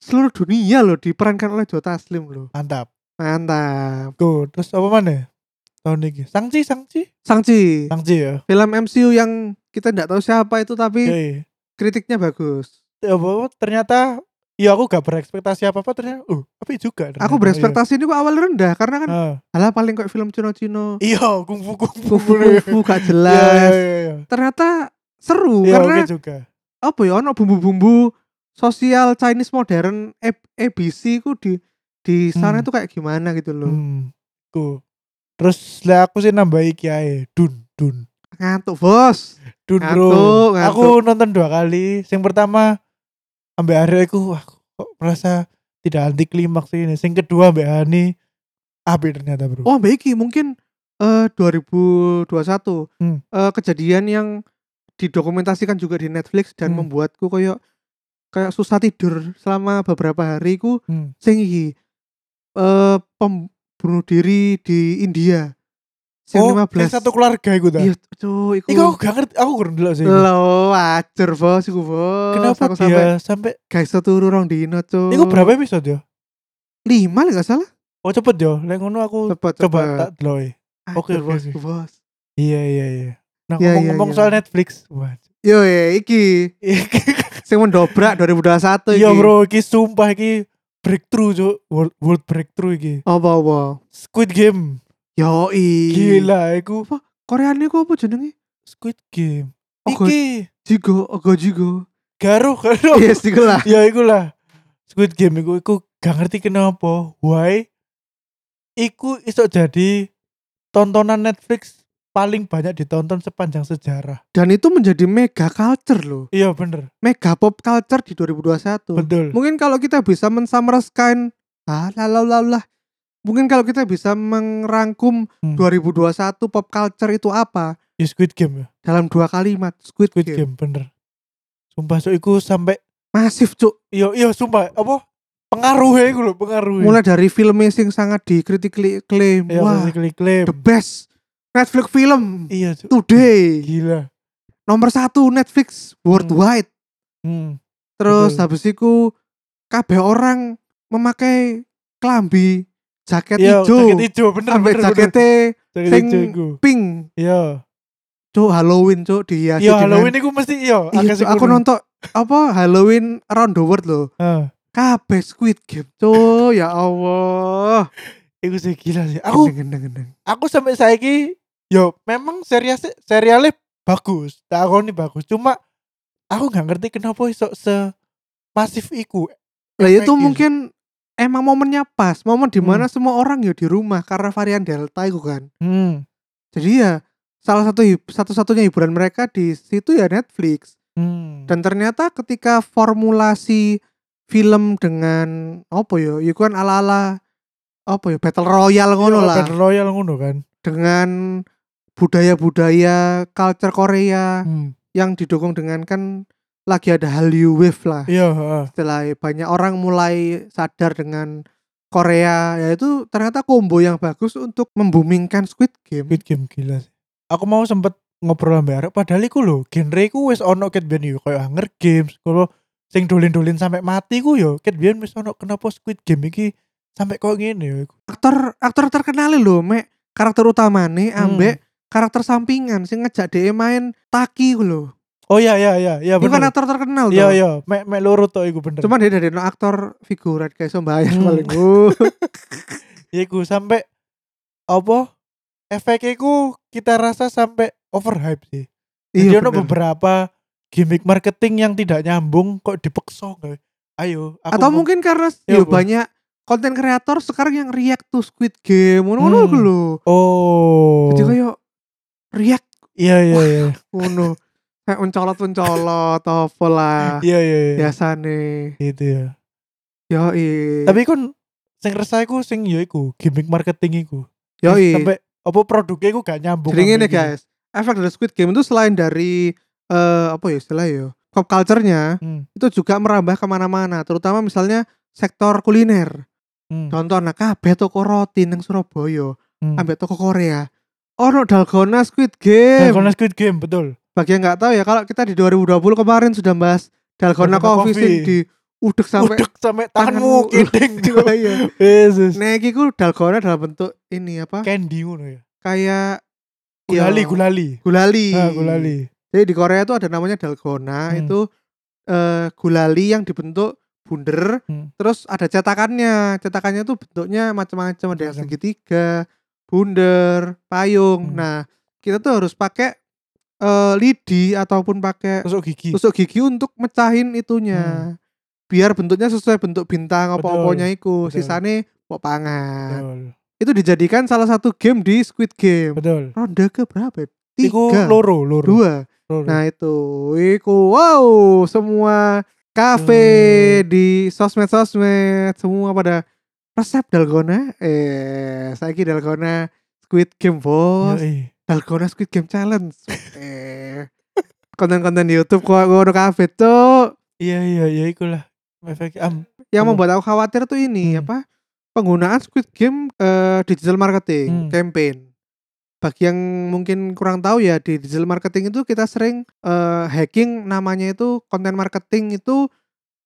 Speaker 1: seluruh dunia loh diperankan oleh Joe Taslim loh
Speaker 2: mantap.
Speaker 1: mantap
Speaker 2: Go. Terus apa mana? Tahun ini. Sangci, Sangci.
Speaker 1: Sangchi
Speaker 2: Sangci ya.
Speaker 1: film MCU yang kita tidak tahu siapa itu tapi
Speaker 2: Yoi.
Speaker 1: kritiknya bagus
Speaker 2: Ya, bahwa ternyata Iya aku gak berekspektasi apa-apa ternyata uh tapi juga ternyata.
Speaker 1: aku berekspektasi ini kok awal rendah karena kan
Speaker 2: Iya. Ah.
Speaker 1: alah paling kok film Cino-Cino
Speaker 2: Iya, kungfu kungfu.
Speaker 1: kufu-kufu gak
Speaker 2: Iya, iya,
Speaker 1: jelas
Speaker 2: iya, iya.
Speaker 1: ternyata seru
Speaker 2: Iya,
Speaker 1: karena
Speaker 2: oke juga.
Speaker 1: apa ya ono bumbu-bumbu sosial Chinese modern A- ABC ku di di sana
Speaker 2: Hmm.
Speaker 1: tuh kayak gimana gitu loh
Speaker 2: Hmm. Ku. Terus lah aku sih nambahi kiai Dun Dun
Speaker 1: ngantuk bos
Speaker 2: Dun bro.
Speaker 1: Ngantuk, ngantuk.
Speaker 2: Aku nonton dua kali. Yang pertama ambek Arya aku wah kok merasa tidak anti klimaks ini. Yang kedua ambek Hani api ternyata bro.
Speaker 1: oh Mbak Iki mungkin eh 2021
Speaker 2: Hmm.
Speaker 1: eh, kejadian yang didokumentasikan juga di Netflix dan
Speaker 2: Hmm.
Speaker 1: membuatku kayak kayak susah tidur selama beberapa hari ku
Speaker 2: Hmm.
Speaker 1: sing iki eh pem- bunuh diri di India sing
Speaker 2: Oh,
Speaker 1: 15
Speaker 2: yang satu keluarga iku ta.
Speaker 1: iya cuy iku
Speaker 2: Iku aku gak ngerti, aku kurang dulu sih.
Speaker 1: lo wajar bos iku bos
Speaker 2: Kenapa
Speaker 1: Aku sampai Hmm.
Speaker 2: dia sampai
Speaker 1: guys turu rong dino cuy
Speaker 2: Iku berapa episode ya?
Speaker 1: 5 enggak salah
Speaker 2: Oh cepet ya, lek ngono aku
Speaker 1: cepat
Speaker 2: coba tak deloi. Oke,
Speaker 1: oke
Speaker 2: oke,
Speaker 1: bos
Speaker 2: oke.
Speaker 1: iku, bos
Speaker 2: Iya iya iya. Nah
Speaker 1: Iya, iya,
Speaker 2: ngomong-ngomong
Speaker 1: iya.
Speaker 2: soal Netflix, wah.
Speaker 1: yo ya iki sing mendobrak 2021
Speaker 2: Iya
Speaker 1: iki.
Speaker 2: bro, iki sumpah iki breakthrough cuk, world, world breakthrough iki.
Speaker 1: apa apa
Speaker 2: Squid Game.
Speaker 1: yo i
Speaker 2: Gila iku
Speaker 1: apa Korea ini apa jenenge
Speaker 2: Squid Game.
Speaker 1: Oh,
Speaker 2: Iki
Speaker 1: jigo ogo jigo
Speaker 2: garuh garuh.
Speaker 1: yes jigo lah
Speaker 2: ya iku lah. Squid Game iku iku gak ngerti kenapa. Why iku iso jadi tontonan Netflix paling banyak ditonton sepanjang sejarah.
Speaker 1: dan itu menjadi mega culture loh
Speaker 2: Iya bener,
Speaker 1: mega pop culture di 2021
Speaker 2: betul.
Speaker 1: mungkin kalau kita bisa mensamaraskan ah lalalalah mungkin kalau kita bisa merangkum
Speaker 2: Hmm.
Speaker 1: 2021 pop culture itu apa
Speaker 2: Ya, Squid Game ya.
Speaker 1: dalam dua kalimat Squid,
Speaker 2: Squid
Speaker 1: Game.
Speaker 2: Game bener. Sumpah so iku sampai
Speaker 1: masif cuk
Speaker 2: iya iya sumpah apa pengaruhnya iku lho pengaruhnya.
Speaker 1: mulai dari filmnya sing sangat dikritik klaim
Speaker 2: Ya,
Speaker 1: wah
Speaker 2: klik klaim.
Speaker 1: the best Netflix film
Speaker 2: Iya, Cuk.
Speaker 1: today
Speaker 2: gila.
Speaker 1: nomor satu Netflix worldwide
Speaker 2: Hmm.
Speaker 1: terus
Speaker 2: Betul.
Speaker 1: habis itu kabeh orang memakai klambi jaket
Speaker 2: Iya,
Speaker 1: hijau
Speaker 2: jaket hijau bener
Speaker 1: sampai
Speaker 2: bener, bener.
Speaker 1: jaketnya
Speaker 2: jaket
Speaker 1: sing-
Speaker 2: hijau iku.
Speaker 1: pink
Speaker 2: Iya.
Speaker 1: cuk Halloween cuk dihiasi
Speaker 2: Iya,
Speaker 1: dengan-
Speaker 2: Halloween iku mesti iya,
Speaker 1: Iya,
Speaker 2: agak
Speaker 1: Cuk, aku
Speaker 2: sekuren.
Speaker 1: nonton apa Halloween around the world loh
Speaker 2: Heeh.
Speaker 1: kabeh Squid Game cuk ya Allah
Speaker 2: Iku sih gila sih. Aku
Speaker 1: gendeng gendeng
Speaker 2: aku sampai saiki yo memang serial serialnya bagus. Takoni bagus. Cuma aku nggak ngerti kenapa iso se masif iku.
Speaker 1: lah ya itu
Speaker 2: Efeknya.
Speaker 1: mungkin emang momennya pas momen dimana semua orang ya di rumah karena varian delta itu kan
Speaker 2: Hmm.
Speaker 1: jadi ya salah satu hib- satu-satunya hiburan mereka di situ ya Netflix
Speaker 2: Hmm.
Speaker 1: dan ternyata ketika formulasi film dengan apa ya itu kan ala-ala apa ya battle royale ngono
Speaker 2: Iya,
Speaker 1: lah
Speaker 2: Battle Royale ngono kan.
Speaker 1: dengan budaya-budaya culture Korea
Speaker 2: Hmm.
Speaker 1: yang didukung dengan kan lagi ada Hallyu Wave lah
Speaker 2: Iya, heeh.
Speaker 1: setelah banyak orang mulai sadar dengan Korea yaitu ternyata combo yang bagus untuk membumingkan Squid Game
Speaker 2: Squid Game gila sih. Aku mau sempet ngobrol sama Arek padahal iku lho genre iku wis ono ket biyen yo koyo Hunger Games kalau sing dolin-dolin sampai mati ku yo ket biyen wis ono kenapa Squid Game iki sampai koyo ngene yo iku.
Speaker 1: aktor aktor terkenal lho mek karakter utamane
Speaker 2: Hmm.
Speaker 1: ambek karakter sampingan sing ngejak dia main Taki ku lho
Speaker 2: Oh iya iya iya iya
Speaker 1: itu kan
Speaker 2: bener.
Speaker 1: aktor terkenal toh.
Speaker 2: Iya iya mek mek loro tok iku bener.
Speaker 1: cuman dia dari no aktor figuran kayak sembahyang
Speaker 2: Hmm.
Speaker 1: paling Uh,
Speaker 2: ya iku sampai apa efeknya iku kita rasa sampai overhype sih. Jadi
Speaker 1: iya
Speaker 2: ono
Speaker 1: bener.
Speaker 2: beberapa gimmick marketing yang tidak nyambung kok dipeksa nggak? Ayo aku
Speaker 1: atau
Speaker 2: mau-
Speaker 1: mungkin karena
Speaker 2: Iya,
Speaker 1: ya
Speaker 2: Bu.
Speaker 1: banyak konten kreator sekarang yang react to Squid Game ngono-ngono
Speaker 2: Hmm.
Speaker 1: ku lho
Speaker 2: Oh.
Speaker 1: jadi kayak react
Speaker 2: Iya iya iya.
Speaker 1: ngono kayak mencolot-mencolot apa lah
Speaker 2: Iya iya iya.
Speaker 1: biasa nih
Speaker 2: Gitu ya.
Speaker 1: yoi
Speaker 2: Tapi kon sing resah iku sing ya iku gimmick marketing iku.
Speaker 1: yoi
Speaker 2: Sampai apa produknya iku gak nyambung.
Speaker 1: jadi
Speaker 2: sama
Speaker 1: ini
Speaker 2: iki.
Speaker 1: guys efek dari Squid Game itu selain dari eh apa ya istilahnya ya pop culture-nya
Speaker 2: Hmm,
Speaker 1: itu juga merambah kemana-mana terutama misalnya sektor kuliner
Speaker 2: hmm,
Speaker 1: contoh nah kabeh toko roti neng Surabaya
Speaker 2: hmm.
Speaker 1: ambek toko Korea ono dalgona Squid
Speaker 2: Nah,
Speaker 1: Game
Speaker 2: Corona Squid Game betul.
Speaker 1: bagi yang nggak tahu ya kalau kita di 2020 kemarin sudah bahas dalgona
Speaker 2: Dalgona
Speaker 1: coffee sing
Speaker 2: Coffee.
Speaker 1: di udek sampai
Speaker 2: Uduk sampai
Speaker 1: tanganmu.
Speaker 2: tanganmu kiting.
Speaker 1: iya.
Speaker 2: Yesus.
Speaker 1: Nah, iki ku dalgona dalam bentuk ini apa?
Speaker 2: Candy ngono ya.
Speaker 1: Kayak ya,
Speaker 2: Gulali, gulali.
Speaker 1: gulali.
Speaker 2: Ah, gulali.
Speaker 1: Jadi di Korea itu ada namanya dalgona
Speaker 2: Hmm.
Speaker 1: itu eh, gulali yang dibentuk bunder
Speaker 2: Hmm.
Speaker 1: terus ada cetakannya. Cetakannya itu bentuknya macam-macam ada yang
Speaker 2: Macam-macam.
Speaker 1: segitiga, bunder, payung.
Speaker 2: Hmm.
Speaker 1: Nah, kita tuh harus pakai eh, lidi ataupun pakai
Speaker 2: Tusuk gigi.
Speaker 1: tusuk gigi untuk mecahin itunya. Biar bentuknya sesuai bentuk bintang apa-apanya iku.
Speaker 2: Hmm. betul.
Speaker 1: Sisane mau pangan.
Speaker 2: Betul.
Speaker 1: itu dijadikan salah satu game di Squid Game.
Speaker 2: Betul.
Speaker 1: Ronde ke berapa? ya?
Speaker 2: Iku
Speaker 1: Tiga,
Speaker 2: loro, loro.
Speaker 1: dua.
Speaker 2: loro.
Speaker 1: Nah itu, iku wow semua kafe
Speaker 2: Hmm.
Speaker 1: di sosmed-sosmed semua pada resep dalgona. Eh, saya dalgona Squid Game
Speaker 2: Iya,
Speaker 1: bos,
Speaker 2: Yoi.
Speaker 1: dalgona Squid Game challenge. eh, konten-konten di YouTube kok ngono kafe tuh.
Speaker 2: Iya, iya, iya ikulah. Efek am.
Speaker 1: Yang
Speaker 2: Hmm.
Speaker 1: membuat aku khawatir tuh ini
Speaker 2: Hmm.
Speaker 1: apa? Penggunaan Squid Game eh, digital marketing
Speaker 2: Hmm.
Speaker 1: campaign. Bagi yang mungkin kurang tahu ya di digital marketing itu kita sering eh, hacking namanya itu konten marketing itu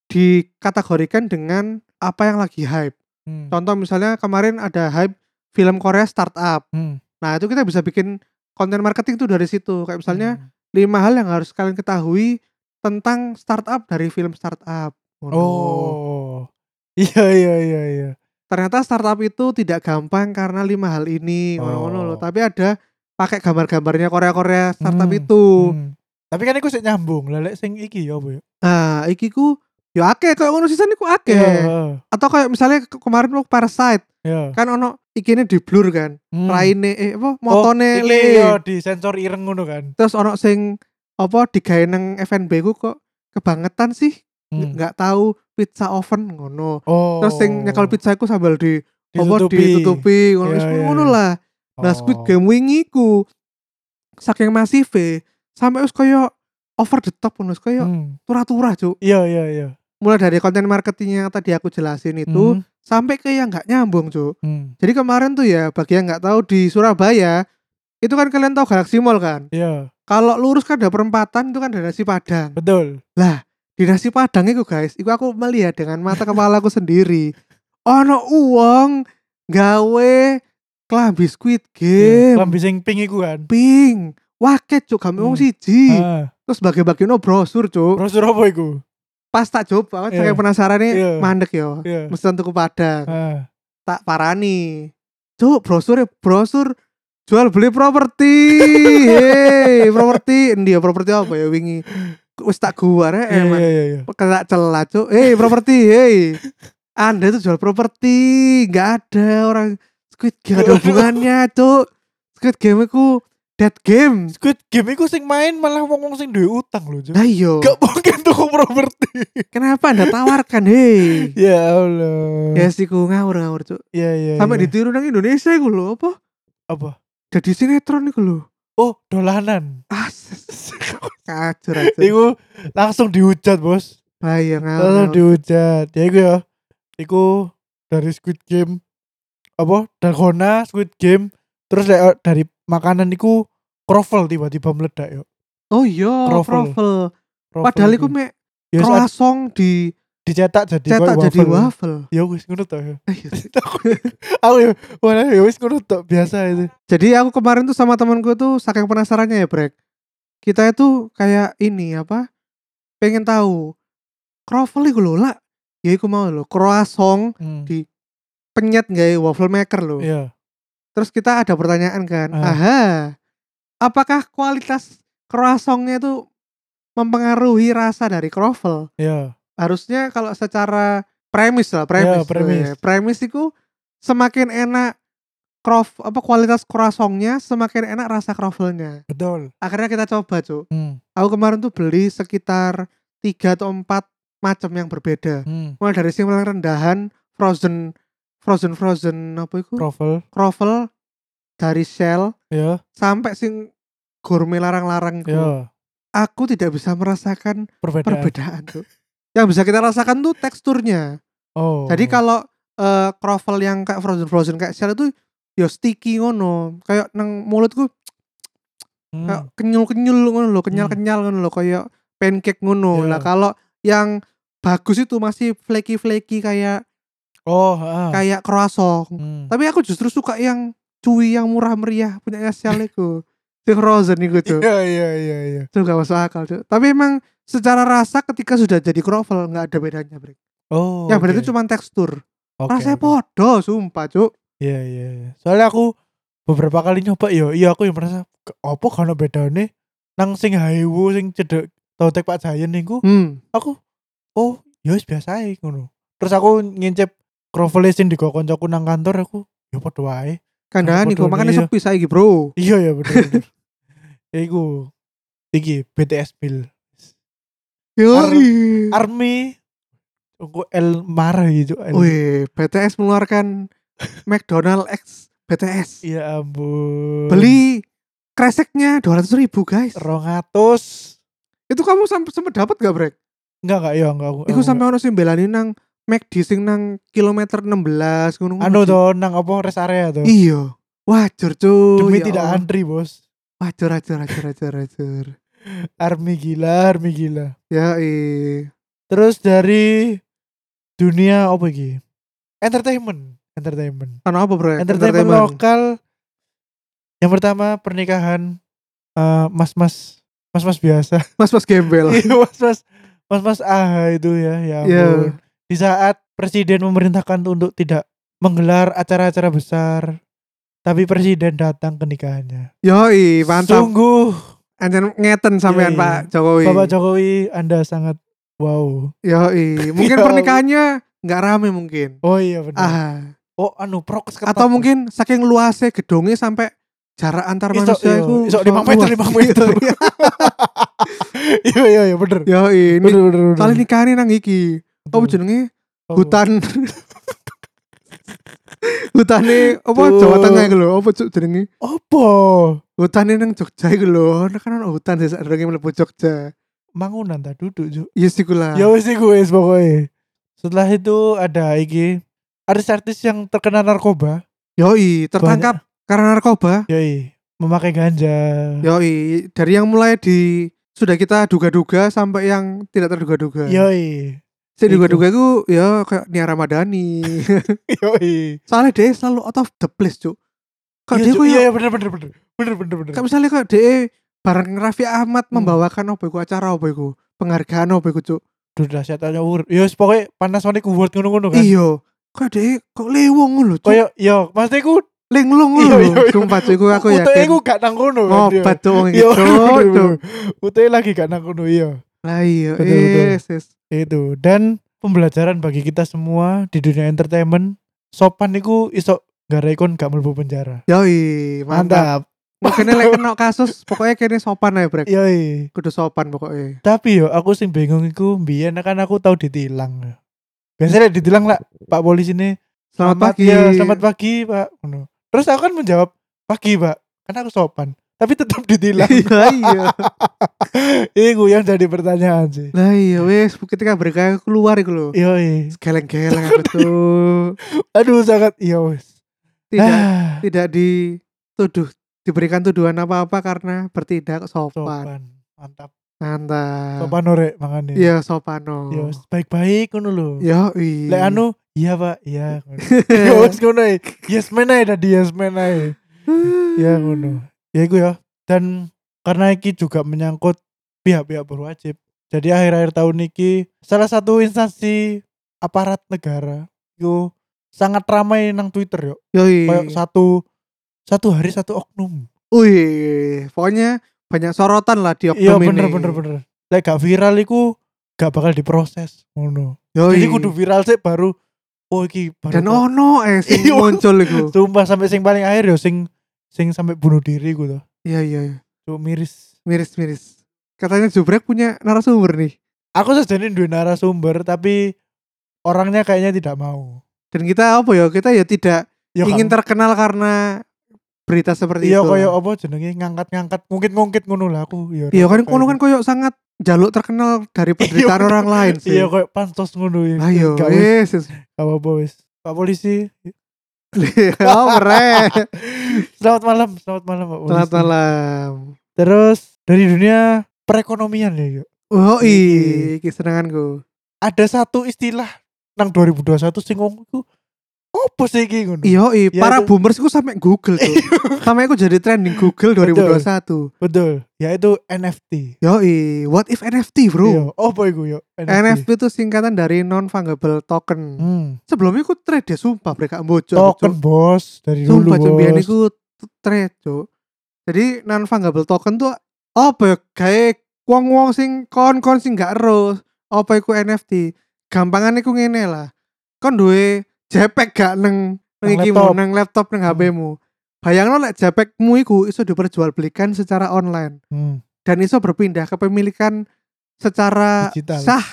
Speaker 1: dikategorikan dengan apa yang lagi hype.
Speaker 2: Hmm.
Speaker 1: Contoh misalnya kemarin ada hype film Korea startup.
Speaker 2: Hmm.
Speaker 1: Nah, itu kita bisa bikin konten marketing itu dari situ. Kayak misalnya
Speaker 2: Hmm.
Speaker 1: lima hal yang harus kalian ketahui tentang startup dari film startup. Waduh.
Speaker 2: Hmm. Oh. Iya, iya, iya, iya.
Speaker 1: ternyata startup itu tidak gampang karena lima hal ini ngono-ngono loh.
Speaker 2: Oh.
Speaker 1: tapi ada pakai gambar-gambarnya Korea-Korea startup
Speaker 2: Hmm,
Speaker 1: itu
Speaker 2: Hmm. Tapi kan iku sik nyambung. Lah lek sing iki ya apa ya?
Speaker 1: nah iki ku yo akeh kayak ngono sisan iku akeh
Speaker 2: Iya, heeh.
Speaker 1: atau kayak misalnya ke- kemarin lo Parasite
Speaker 2: Iya.
Speaker 1: kan ono ikine di blur kan
Speaker 2: Hmm.
Speaker 1: raine eh apa
Speaker 2: Oh,
Speaker 1: motone
Speaker 2: iki
Speaker 1: le
Speaker 2: ya di sensor ireng ngono kan.
Speaker 1: terus ono sing apa digawe nang FNB ku kok kebangetan sih
Speaker 2: Hmm.
Speaker 1: nggak tahu pizza oven ngono
Speaker 2: Oh.
Speaker 1: terus sing nyekel pizza ku sambal di apa ditutupi ngono
Speaker 2: Iya,
Speaker 1: Wis
Speaker 2: iya,
Speaker 1: ngono
Speaker 2: iya. Oh.
Speaker 1: lah Nah Squid Game wingi ku saking masif sampai wis koyo over the top ngono wis
Speaker 2: Oh.
Speaker 1: koyo
Speaker 2: Hmm.
Speaker 1: turah-turah cuk.
Speaker 2: Iya, iya, iya.
Speaker 1: Mulai dari konten marketing yang tadi aku jelasin itu
Speaker 2: Hmm,
Speaker 1: sampai ke yang nggak nyambung cuk.
Speaker 2: hmm.
Speaker 1: Jadi kemarin tuh ya bagi yang nggak tahu di Surabaya itu kan kalian tahu Galaxy Mall kan.
Speaker 2: Iya,
Speaker 1: Kalau lurus kan ada perempatan itu kan ada nasi Padang.
Speaker 2: betul.
Speaker 1: Di nasi Padang itu guys, itu aku melihat dengan mata kepala aku sendiri. Ono uang gawe klambi Squid Game.
Speaker 2: Iya, Lambi sing pink iku kan.
Speaker 1: ping waket cuk kami wong
Speaker 2: Hmm.
Speaker 1: siji
Speaker 2: Ah,
Speaker 1: terus bagi-bagi no brosur cuk
Speaker 2: brosur apa iku?
Speaker 1: pas tak coba kan
Speaker 2: Iya.
Speaker 1: saya penasaran nih
Speaker 2: Iya.
Speaker 1: mandek yo
Speaker 2: Iya.
Speaker 1: mesen tuku padang
Speaker 2: Ah.
Speaker 1: tak parani cuk brosur brosur jual beli properti hei properti dia properti apa ya wingi wis tak eh, gua rek
Speaker 2: Iya,
Speaker 1: emang
Speaker 2: iya, iya, iya.
Speaker 1: kena celah cuk hei properti hei anda itu jual properti nggak ada orang squid game ada
Speaker 2: Waduh.
Speaker 1: hubungannya cuk squid game ku dead game
Speaker 2: Squid Game iku sing main malah wong-wong sing duwe utang lho, Cuk.
Speaker 1: Lah iyo,
Speaker 2: Gak mungkin tuku properti.
Speaker 1: kenapa anda tawarkan hei?
Speaker 2: Ya Allah.
Speaker 1: Ya sih ku ngawur ngawur cuk.
Speaker 2: Iya, iya.
Speaker 1: Sampai
Speaker 2: iya.
Speaker 1: ditiru nang Indonesia iku lho apa?
Speaker 2: apa?
Speaker 1: Jadi sinetron iku lho.
Speaker 2: Oh, dolanan.
Speaker 1: Ases. Kacur aja.
Speaker 2: Iku langsung dihujat, Bos.
Speaker 1: Lah iya
Speaker 2: Langsung
Speaker 1: ngawur. ngawur.
Speaker 2: dihujat. Ya iku ya. Iku dari Squid Game apa? Dalgona, Squid Game, terus lek, eh, dari makanan iku croffle tiba-tiba meledak yo.
Speaker 1: Oh iya,
Speaker 2: Kroffel.
Speaker 1: kroffel.
Speaker 2: Croffle
Speaker 1: Padahal iku mek
Speaker 2: Ya, saat
Speaker 1: croissant di
Speaker 2: dicetak jadi
Speaker 1: cetak
Speaker 2: koyo
Speaker 1: jadi waffle.
Speaker 2: Ya wis ngono to. ya.
Speaker 1: Eh, iya sih.
Speaker 2: Aku ya, wala ya wis ngono to biasa itu.
Speaker 1: Jadi aku kemarin tuh sama temanku tuh saking penasarannya ya, Brek. Kita itu kayak ini apa? Pengen tahu kroffel iku lho lah. Ya iku mau lho, croissant
Speaker 2: Hmm.
Speaker 1: Di- penyet nggak ya, waffle maker loh.
Speaker 2: Iya.
Speaker 1: Terus kita ada pertanyaan kan,
Speaker 2: Ah.
Speaker 1: aha, apakah kualitas croissantnya itu mempengaruhi rasa dari croffle?
Speaker 2: Iya.
Speaker 1: Harusnya kalau secara premis lah, premis,
Speaker 2: Ya, premis.
Speaker 1: Oh, ya. premis itu semakin enak croff apa kualitas croissantnya semakin enak rasa croffle-nya.
Speaker 2: Betul.
Speaker 1: Akhirnya kita coba cuk.
Speaker 2: Hmm.
Speaker 1: Aku kemarin tuh beli sekitar 3 atau 4 macam yang berbeda.
Speaker 2: Hmm.
Speaker 1: Mulai dari sing paling rendahan, frozen, frozen, frozen apa itu?
Speaker 2: Croffle.
Speaker 1: kroffel dari Shell
Speaker 2: Iya.
Speaker 1: sampai sing gourmet larang-larang iku.
Speaker 2: Iya.
Speaker 1: aku tidak bisa merasakan
Speaker 2: Perbedaan.
Speaker 1: perbedaan tuh. Yang bisa kita rasakan tuh teksturnya.
Speaker 2: Oh.
Speaker 1: Jadi kalau eh croffle yang kayak frozen frozen kayak shell itu ya sticky ngono. Kayak nang mulutku
Speaker 2: Hmm.
Speaker 1: kayak kenyul-kenyul ngono loh, kenyal-kenyal ngono loh kayak pancake ngono.
Speaker 2: Iya.
Speaker 1: Lah kalau yang bagus itu masih flaky-flaky kayak
Speaker 2: Oh, ah.
Speaker 1: kayak croissant.
Speaker 2: Hmm.
Speaker 1: Tapi aku justru suka yang cuy yang murah meriah punya shell itu. Sing frozen itu tuh.
Speaker 2: Iya, iya, iya, iya.
Speaker 1: itu gak masuk akal Cuk. tapi emang secara rasa ketika sudah jadi croffle nggak ada bedanya Brek.
Speaker 2: Oh.
Speaker 1: yang beda
Speaker 2: oke.
Speaker 1: Ya, itu cuma tekstur
Speaker 2: Oke,
Speaker 1: rasanya
Speaker 2: oke.
Speaker 1: podo sumpah cuk
Speaker 2: Iya, iya, iya. Soalnya aku beberapa kali nyoba yo, iya aku yang merasa "Ke- apa kan bedane nang sing Haiwu sing cedek tau tek Pak Jayen niku
Speaker 1: hmm.
Speaker 2: aku oh ya wis biasa ae ngono. Terus aku ngincip croffle sing digo koncoku nang kantor aku ya padha wae.
Speaker 1: kandani
Speaker 2: Podo
Speaker 1: kok makanya
Speaker 2: iya.
Speaker 1: sepi saiki bro
Speaker 2: Iya ya bener. bener. Iku iki BTS Bill
Speaker 1: Yoi.
Speaker 2: Army aku El marah gitu. El.
Speaker 1: Wih, BTS mengeluarkan McDonald X BTS
Speaker 2: Ya ampun.
Speaker 1: beli kreseknya 200 ribu guys
Speaker 2: 200
Speaker 1: itu kamu sampai sempet dapat gak Brek?
Speaker 2: Enggak enggak ya enggak. aku-
Speaker 1: Iku
Speaker 2: aku
Speaker 1: sampai ono sing belani nang McD sing nang kilometer 16 ngono.
Speaker 2: anu to nang apa rest area to
Speaker 1: Iya. Wajur cuy.
Speaker 2: demi
Speaker 1: ya
Speaker 2: tidak
Speaker 1: Allah.
Speaker 2: antri bos
Speaker 1: Wajur, wajur, wajur, wajur, wajur.
Speaker 2: army gila army gila
Speaker 1: Ya eh
Speaker 2: terus dari dunia apa iki entertainment entertainment
Speaker 1: Anu apa bro?
Speaker 2: entertainment, lokal yang pertama pernikahan eh, mas-mas mas-mas biasa
Speaker 1: Mas mas gembel.
Speaker 2: Iya, mas-mas mas-mas ah itu ya ya
Speaker 1: Iya.
Speaker 2: ampun. di saat presiden memerintahkan untuk tidak menggelar acara-acara besar tapi presiden datang ke nikahannya
Speaker 1: Yoi, mantap.
Speaker 2: sungguh
Speaker 1: Anjen ngeten sampean
Speaker 2: Yoi.
Speaker 1: Pak Jokowi.
Speaker 2: Iya, Bapak Jokowi, Anda sangat wow.
Speaker 1: Yoi, mungkin
Speaker 2: Ya Allah.
Speaker 1: pernikahannya nggak rame mungkin.
Speaker 2: Oh iya benar.
Speaker 1: Ah,
Speaker 2: Oh anu prokes ketat.
Speaker 1: atau mungkin saking luasnya gedungnya sampai jarak antar
Speaker 2: Isok,
Speaker 1: manusia
Speaker 2: iya.
Speaker 1: itu
Speaker 2: Isok lima meter,
Speaker 1: luas. iya.
Speaker 2: lima meter. iya iya iya benar. Oh.
Speaker 1: Yoi, ini
Speaker 2: Bener bener. bener.
Speaker 1: kali nikahannya nang iki. Apa jenenge?
Speaker 2: Apa?
Speaker 1: Hutan. Hutane apa
Speaker 2: Tuh.
Speaker 1: Jawa Tengah iku lho, apa cuk jenenge?
Speaker 2: Apa?
Speaker 1: Hutane nang Jogja iku lho, Ono kan ono hutan sih sadurunge mlebu Jogja.
Speaker 2: Mangunan tak duduk Ju.
Speaker 1: Yes iku lah.
Speaker 2: Ya wis iku wis pokoknya. Setelah itu ada iki artis-artis yang terkena narkoba.
Speaker 1: Yoi, tertangkap karena narkoba.
Speaker 2: Yoi, memakai ganja.
Speaker 1: Yoi, dari yang mulai di sudah kita duga-duga sampai yang tidak terduga-duga.
Speaker 2: Iya, Yoi.
Speaker 1: Saya duga-duga itu ya kayak Nia Ramadhani.
Speaker 2: Yoi.
Speaker 1: Soalnya dia selalu out of the place, Cuk. Kayak
Speaker 2: Iya
Speaker 1: dia
Speaker 2: Ju,
Speaker 1: kayak
Speaker 2: iya iya, bener bener bener. Bener bener bener.
Speaker 1: kayak misalnya kayak dia bareng Raffi Ahmad
Speaker 2: Hmm.
Speaker 1: membawakan apa iku acara apa iku penghargaan apa iku, Cuk.
Speaker 2: Duh Ya dahsyat aja Award. Yo pokoknya Panasonic Award ngono-ngono kan.
Speaker 1: Iya. Kayak dia kok lewong ngono, Cuk.
Speaker 2: Koyo yo maksudnya ku
Speaker 1: Linglung
Speaker 2: Iya,
Speaker 1: ngono.
Speaker 2: iya, iya.
Speaker 1: Sumpah, Cuk, iku aku
Speaker 2: Uteke
Speaker 1: yakin.
Speaker 2: ku gak nang kono kan, dia.
Speaker 1: Ngobat tuh wong iki,
Speaker 2: Iya,
Speaker 1: Cuk,
Speaker 2: bener,
Speaker 1: Cuk.
Speaker 2: bener. Uteke lagi gak nang kono iya.
Speaker 1: Lah iya,
Speaker 2: Betul, betul.
Speaker 1: yes, yes.
Speaker 2: Itu dan pembelajaran bagi kita semua di dunia entertainment sopan niku iso garekon gak mlebu penjara.
Speaker 1: Yoi, mantap. Mungkin lek kena kasus, pokoknya kene sopan ae,
Speaker 2: Iya.
Speaker 1: Brek.
Speaker 2: Yoi.
Speaker 1: Kudu sopan pokoknya.
Speaker 2: Tapi yo aku sing bingung iku mbiyen kan aku tau ditilang. Biasanya ditilang lah Pak polisi ini
Speaker 1: Hmm. Selamat pagi.
Speaker 2: ya, selamat pagi, Pak. Ngono. Terus aku kan menjawab, "Pagi, Pak." Karena aku sopan. Tapi tetap ditilang.
Speaker 1: Iya, iya.
Speaker 2: Iku yang jadi pertanyaan sih. Iya,
Speaker 1: Lah iya wis ketika berkaya keluar iku lho.
Speaker 2: Yoi.
Speaker 1: Geleng-geleng aku tuh.
Speaker 2: Aduh sangat iya wis.
Speaker 1: Tidak
Speaker 2: Ah,
Speaker 1: tidak dituduh diberikan tuduhan apa-apa karena bertindak sopan.
Speaker 2: sopan. Mantap.
Speaker 1: Mantap.
Speaker 2: Sopan ore mangane.
Speaker 1: Iya, sopano.
Speaker 2: Yo, Ya, baik-baik ngono lho.
Speaker 1: Yo, iya. Ya,
Speaker 2: Lek anu, iya Pak, iya. ngono. Yo wis ngono ae. Yes man ae tadi yes man ae. Ya ngono. Ya iku ya. Dan karena iki juga menyangkut pihak-pihak berwajib. Jadi akhir-akhir tahun iki salah satu instansi aparat negara yo sangat ramai nang Twitter yo.
Speaker 1: Yoi.
Speaker 2: Kayak satu satu hari satu oknum.
Speaker 1: Wih, pokoknya banyak sorotan lah di
Speaker 2: Iya
Speaker 1: oknum ini.
Speaker 2: bener bener bener. Lek gak viral iku gak bakal diproses ngono.
Speaker 1: Yoi.
Speaker 2: Jadi kudu viral sih baru oh iki
Speaker 1: Oh, iya.
Speaker 2: baru.
Speaker 1: dan ono eh sing
Speaker 2: Iya.
Speaker 1: muncul iku.
Speaker 2: Sumpah sampai sing paling akhir yo sing sing sampai bunuh diri ku tuh.
Speaker 1: Iya iya iya.
Speaker 2: Cuk miris.
Speaker 1: miris-miris. Katanya Jubrek punya narasumber nih
Speaker 2: Aku sejane duwe narasumber tapi orangnya kayaknya tidak mau.
Speaker 1: dan kita apa ya kita ya tidak
Speaker 2: Ya,
Speaker 1: ingin
Speaker 2: kan-
Speaker 1: terkenal karena berita seperti
Speaker 2: Iya
Speaker 1: itu. kan?
Speaker 2: koyo apa jenenge ngangkat-ngangkat ngungkit-ngungkit ngono lah aku. Iya.
Speaker 1: Iya kan
Speaker 2: kayak
Speaker 1: kono kan
Speaker 2: gitu.
Speaker 1: koyo sangat jaluk terkenal dari penderitaan
Speaker 2: Iya,
Speaker 1: orang lain
Speaker 2: Iya
Speaker 1: sih. iya,
Speaker 2: koyo pantos ngono ya.
Speaker 1: Ayo, eh.
Speaker 2: Gak wis,
Speaker 1: Yesus.
Speaker 2: gak apa-apa wis. Pak polisi,
Speaker 1: Oh, mereh.
Speaker 2: selamat malam, selamat malam Pak polisi.
Speaker 1: Selamat malam.
Speaker 2: Terus dari dunia perekonomian ya, yuk.
Speaker 1: Oh,
Speaker 2: Iki.
Speaker 1: iki
Speaker 2: Hmm.
Speaker 1: senenganku.
Speaker 2: Ada satu istilah nang 2021 sing wong iku opo sih iki ngono?
Speaker 1: Iya, i,
Speaker 2: Iya,
Speaker 1: para
Speaker 2: itu. Iya.
Speaker 1: boomers ku sampe Google tuh. sampe aku jadi trending Google 2021.
Speaker 2: Betul, yaitu NFT.
Speaker 1: Yo, i, what if NFT, Bro?
Speaker 2: Iya, opo iku yo?
Speaker 1: NFT itu singkatan dari non fungible token.
Speaker 2: Hmm,
Speaker 1: Sebelumnya aku trade ya sumpah mereka bocor.
Speaker 2: token bos dari dulu.
Speaker 1: Sumpah
Speaker 2: bos.
Speaker 1: jembian iku t- trade, Cuk. Jadi non fungible token tuh apa ya kayak wong-wong sing kon-kon sing gak ero apa iku NFT. Gampangan iku ngene lah. Kon duwe JPEG gak neng neng
Speaker 2: Nang
Speaker 1: ikimu,
Speaker 2: laptop.
Speaker 1: neng laptop neng
Speaker 2: Hmm.
Speaker 1: HP-mu. Bayangno lek JPEG-mu iku iso diperjualbelikan secara online
Speaker 2: Hmm,
Speaker 1: dan iso berpindah kepemilikan secara
Speaker 2: Digital.
Speaker 1: sah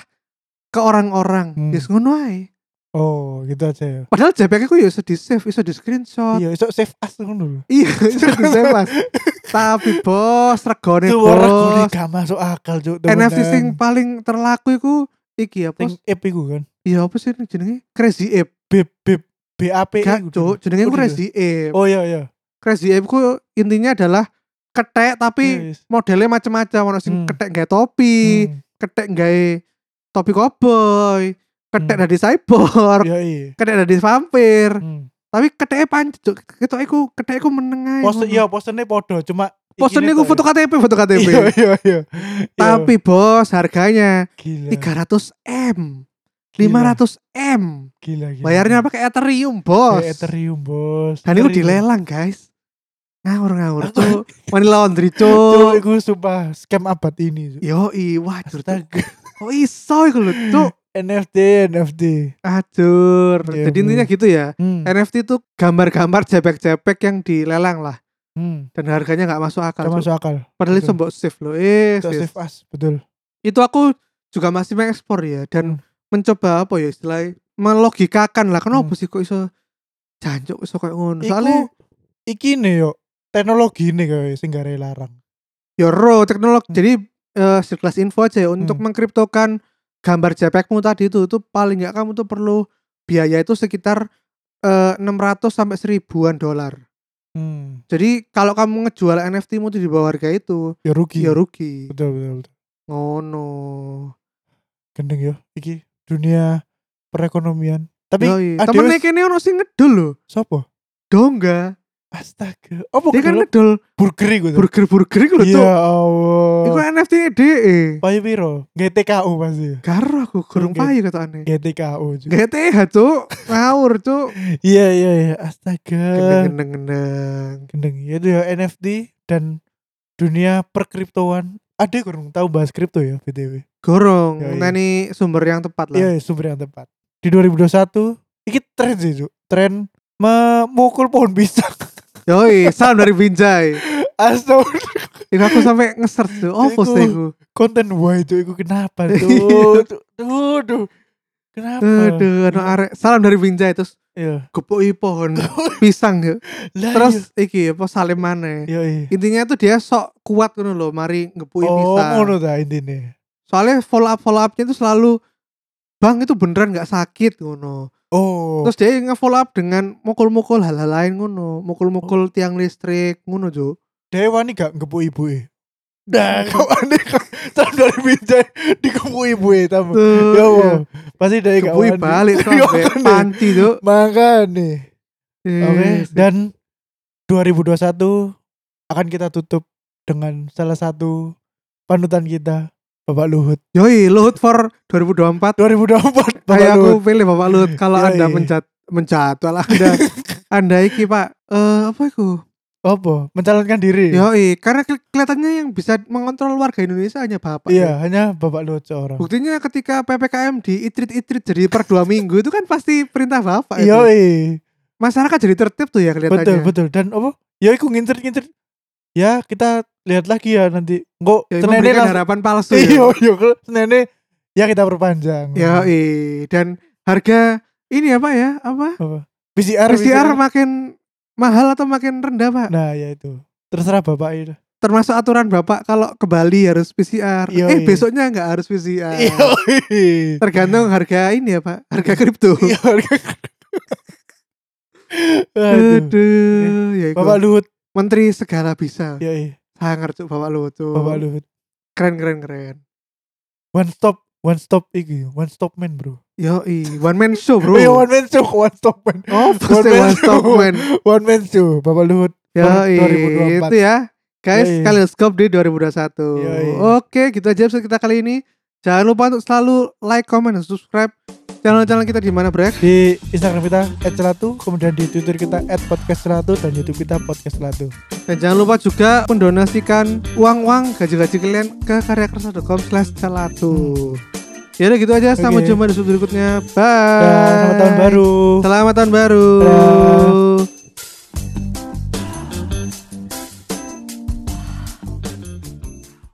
Speaker 1: ke orang-orang.
Speaker 2: Hmm.
Speaker 1: Yes ngono ae.
Speaker 2: Oh, gitu aja ya.
Speaker 1: Padahal JPEG iku ya iso di-save, iso di-screenshot.
Speaker 2: Iya, iso save as ngono lho.
Speaker 1: Iya, itu disewas. Tapi bos, regone
Speaker 2: Itu ora
Speaker 1: bos.
Speaker 2: gak masuk akal, Cuk. temenan.
Speaker 1: NFC sing paling terlaku iku iki apa?
Speaker 2: nah. Sing app iku kan.
Speaker 1: Iya apa sih ini jenenge? Crazy Ape.
Speaker 2: Bip bip BAP
Speaker 1: Gak,
Speaker 2: E iku,
Speaker 1: Cuk.
Speaker 2: Cuk.
Speaker 1: Jenenge ku
Speaker 2: Eh, Oh,
Speaker 1: Crazy Ape.
Speaker 2: Oh iya iya.
Speaker 1: Crazy Ape ku intinya adalah ketek tapi
Speaker 2: Yes.
Speaker 1: modelnya macam-macam. Ono sing
Speaker 2: Hmm.
Speaker 1: ketek gawe topi,
Speaker 2: Iya, Hmm,
Speaker 1: ketek gawe topi cowboy, ketek
Speaker 2: Hmm.
Speaker 1: dari cyborg,
Speaker 2: Iya iya.
Speaker 1: ketek dari vampir.
Speaker 2: Hmm.
Speaker 1: Tapi keteknya pancet, Cuk. Ketoknya ku keteknya ku meneng ae.
Speaker 2: Pose iya posenya podo cuma
Speaker 1: Posternya ku foto KTP, foto KTP.
Speaker 2: Iya iya iya.
Speaker 1: Tapi bos harganya
Speaker 2: Gila,
Speaker 1: 300 m,
Speaker 2: Gila.
Speaker 1: 500 m.
Speaker 2: gila gila.
Speaker 1: Bayarnya pakai Ethereum bos.
Speaker 2: Kayak Ethereum bos.
Speaker 1: Dan itu
Speaker 2: Ethereum.
Speaker 1: dilelang guys. Ngawur ngawur
Speaker 2: Aku-
Speaker 1: tuh. Money laundry
Speaker 2: Cuk,
Speaker 1: tuh.
Speaker 2: iku sumpah scam abad ini. Cuk.
Speaker 1: Yo i wajar tuh.
Speaker 2: Astaga.
Speaker 1: Oh iso iku lho tuh.
Speaker 2: NFT NFT.
Speaker 1: Acur.
Speaker 2: Iya,
Speaker 1: Jadi
Speaker 2: Bu.
Speaker 1: intinya gitu ya.
Speaker 2: Hmm.
Speaker 1: NFT tuh gambar-gambar jepek-jepek yang dilelang lah
Speaker 2: hmm.
Speaker 1: dan harganya nggak masuk akal.
Speaker 2: Gak
Speaker 1: Cuk.
Speaker 2: masuk akal.
Speaker 1: Padahal itu
Speaker 2: betul.
Speaker 1: mbok save loh. Eh,
Speaker 2: Itu
Speaker 1: sis.
Speaker 2: save as betul.
Speaker 1: itu aku juga masih mengekspor ya dan
Speaker 2: Hmm.
Speaker 1: mencoba apa ya istilahnya melogikakan lah kenapa
Speaker 2: Hmm.
Speaker 1: sih kok iso jancuk iso kayak ngono
Speaker 2: Iku
Speaker 1: soalnya
Speaker 2: iki nih yo teknologi nih guys sing gak larang.
Speaker 1: ya ro teknologi
Speaker 2: Hmm.
Speaker 1: jadi eh sekelas info aja ya untuk mengkriptokan gambar JPEG-mu tadi itu itu paling nggak kamu tuh perlu biaya itu sekitar eh, 600 sampai seribuan dolar
Speaker 2: Hmm.
Speaker 1: jadi kalau kamu ngejual NFT-mu tuh di bawah harga itu
Speaker 2: Ya rugi.
Speaker 1: ya rugi
Speaker 2: Betul betul. betul.
Speaker 1: ngono
Speaker 2: Gendeng yo iki dunia perekonomian. Tapi
Speaker 1: Yoi.
Speaker 2: ada
Speaker 1: temennya
Speaker 2: wes-
Speaker 1: kene ono sing ngedol lho
Speaker 2: Sopo?
Speaker 1: dongga
Speaker 2: Astaga. Apa
Speaker 1: dia kan
Speaker 2: kan
Speaker 1: ngedol
Speaker 2: burger iku tuh?
Speaker 1: burger-burger iku lho Cuk.
Speaker 2: Ya
Speaker 1: Iku
Speaker 2: Allah.
Speaker 1: NFT nya DE.
Speaker 2: Payu piro? GTKU pasti.
Speaker 1: e, Karo aku kurung
Speaker 2: Iya. Oke. Iya.
Speaker 1: payu ketokane.
Speaker 2: GTKU. Cuk.
Speaker 1: GTH cuk, ngawur cuk.
Speaker 2: Iya iya iya. Astaga.
Speaker 1: Gendeng-gendeng.
Speaker 2: Gendeng. Ya itu ya NFT dan dunia perkriptoan. Ada kurang tahu bahas kripto ya BTW.
Speaker 1: Gorong,
Speaker 2: Yoi.
Speaker 1: ini sumber yang tepat lah.
Speaker 2: Iya, iya, sumber yang tepat. Di 2021, iki tren sih, Cuk. Tren memukul pohon pisang.
Speaker 1: Yoi, salam dari Binjai.
Speaker 2: Astaga,
Speaker 1: Iku aku sampai nge-search tuh, oh
Speaker 2: Iku.
Speaker 1: post iku.
Speaker 2: konten wah itu iku kenapa
Speaker 1: Iya.
Speaker 2: tuh? Tuh, tuh, tuh. Kenapa?
Speaker 1: Aduh, no arek. Salam dari Binjai terus
Speaker 2: Iya.
Speaker 1: gepuki pohon pisang yuk.
Speaker 2: Lah,
Speaker 1: Terus iki apa salim maneh.
Speaker 2: iya, iya.
Speaker 1: Intinya tuh dia sok kuat ngono lho, mari gepuki
Speaker 2: Oh,
Speaker 1: pisang.
Speaker 2: ngono ta intine.
Speaker 1: Soalnya follow up follow upnya itu selalu Bang itu beneran nggak sakit ngono.
Speaker 2: Oh.
Speaker 1: Terus dia nge-follow up dengan mukul-mukul hal-hal lain ngono,
Speaker 2: Oh.
Speaker 1: mukul-mukul tiang listrik ngono, Jo.
Speaker 2: Dewa nih gak ngepu ibu e. Nah, kawan deh, tahun dari bijak dikepu ibu e
Speaker 1: Tuh,
Speaker 2: tamu. Ya
Speaker 1: iya.
Speaker 2: Allah, pasti dari
Speaker 1: Kebui
Speaker 2: kawan.
Speaker 1: balik sampai panci, Jo.
Speaker 2: Makanya. Oke,
Speaker 1: Yes.
Speaker 2: dan 2021 akan kita tutup dengan salah satu panutan kita, Bapak Luhut.
Speaker 1: Yoi, Luhut for 2024.
Speaker 2: 2024 Bapak
Speaker 1: Kayak aku
Speaker 2: Luhut.
Speaker 1: pilih Bapak Luhut kalau
Speaker 2: Yoi.
Speaker 1: Anda mencat mencat kalau Anda Anda iki, Pak. Eh, apa iku?
Speaker 2: Apa? Mencalonkan diri.
Speaker 1: Yoi, karena keli- kelihatannya yang bisa mengontrol warga Indonesia hanya Bapak.
Speaker 2: Iya,
Speaker 1: Jo.
Speaker 2: hanya Bapak Luhut seorang.
Speaker 1: Buktinya ketika PPKM di itrit-itrit jadi per dua minggu itu kan pasti perintah Bapak
Speaker 2: Iya,
Speaker 1: itu. Masyarakat jadi tertib tuh ya kelihatannya.
Speaker 2: betul betul. Dan apa? Ya, aku ngincer-ngincer. Ya, kita lihat lagi ya nanti. Enggak,
Speaker 1: Ya,
Speaker 2: senene
Speaker 1: memberikan
Speaker 2: langsung-
Speaker 1: harapan palsu
Speaker 2: Iya,
Speaker 1: ya.
Speaker 2: iya, kalau senene ya kita perpanjang.
Speaker 1: Yoi. dan harga ini apa ya? Apa?
Speaker 2: Apa? PCR,
Speaker 1: PCR makin mahal atau makin rendah pak
Speaker 2: Nah, ya itu. Terserah bapak itu.
Speaker 1: Nah. termasuk aturan bapak kalau ke Bali harus PCR
Speaker 2: Iya,
Speaker 1: eh
Speaker 2: iya.
Speaker 1: besoknya nggak harus PCR
Speaker 2: Yoi.
Speaker 1: tergantung harga ini ya pak harga kripto
Speaker 2: Iya. Iya, harga- Aduh. Iya.
Speaker 1: aduh ya iku.
Speaker 2: Bapak Luhut.
Speaker 1: menteri segala bisa
Speaker 2: Yoi,
Speaker 1: sangar cuk bapak lu tuh
Speaker 2: Bapak Luhut.
Speaker 1: keren keren keren
Speaker 2: One stop, one stop iki, one stop man, Bro.
Speaker 1: Yoi, one man show bro
Speaker 2: Iya, one man show, one stop man.
Speaker 1: oh pasti
Speaker 2: man
Speaker 1: one stop
Speaker 2: show.
Speaker 1: man
Speaker 2: One man show, Bapak Luhut.
Speaker 1: Yoi,
Speaker 2: 2024.
Speaker 1: itu ya. Guys,
Speaker 2: Yoi.
Speaker 1: Kaleidoscope di 2021.
Speaker 2: Yoi.
Speaker 1: Oke, gitu aja episode kita kali ini. Jangan lupa untuk selalu like, comment, dan subscribe channel-channel kita di mana, Brek?
Speaker 2: Di Instagram kita @celatu, kemudian di Twitter kita @podcastcelatu dan YouTube kita podcastcelatu.
Speaker 1: Dan jangan lupa juga mendonasikan uang-uang gaji-gaji kalian ke karyakersa.com slash celatu. Ya udah gitu aja, sampai
Speaker 2: Hmm. Oke.
Speaker 1: jumpa di episode berikutnya. Bye.
Speaker 2: Dan selamat tahun baru.
Speaker 1: Selamat tahun baru.
Speaker 2: Dadah.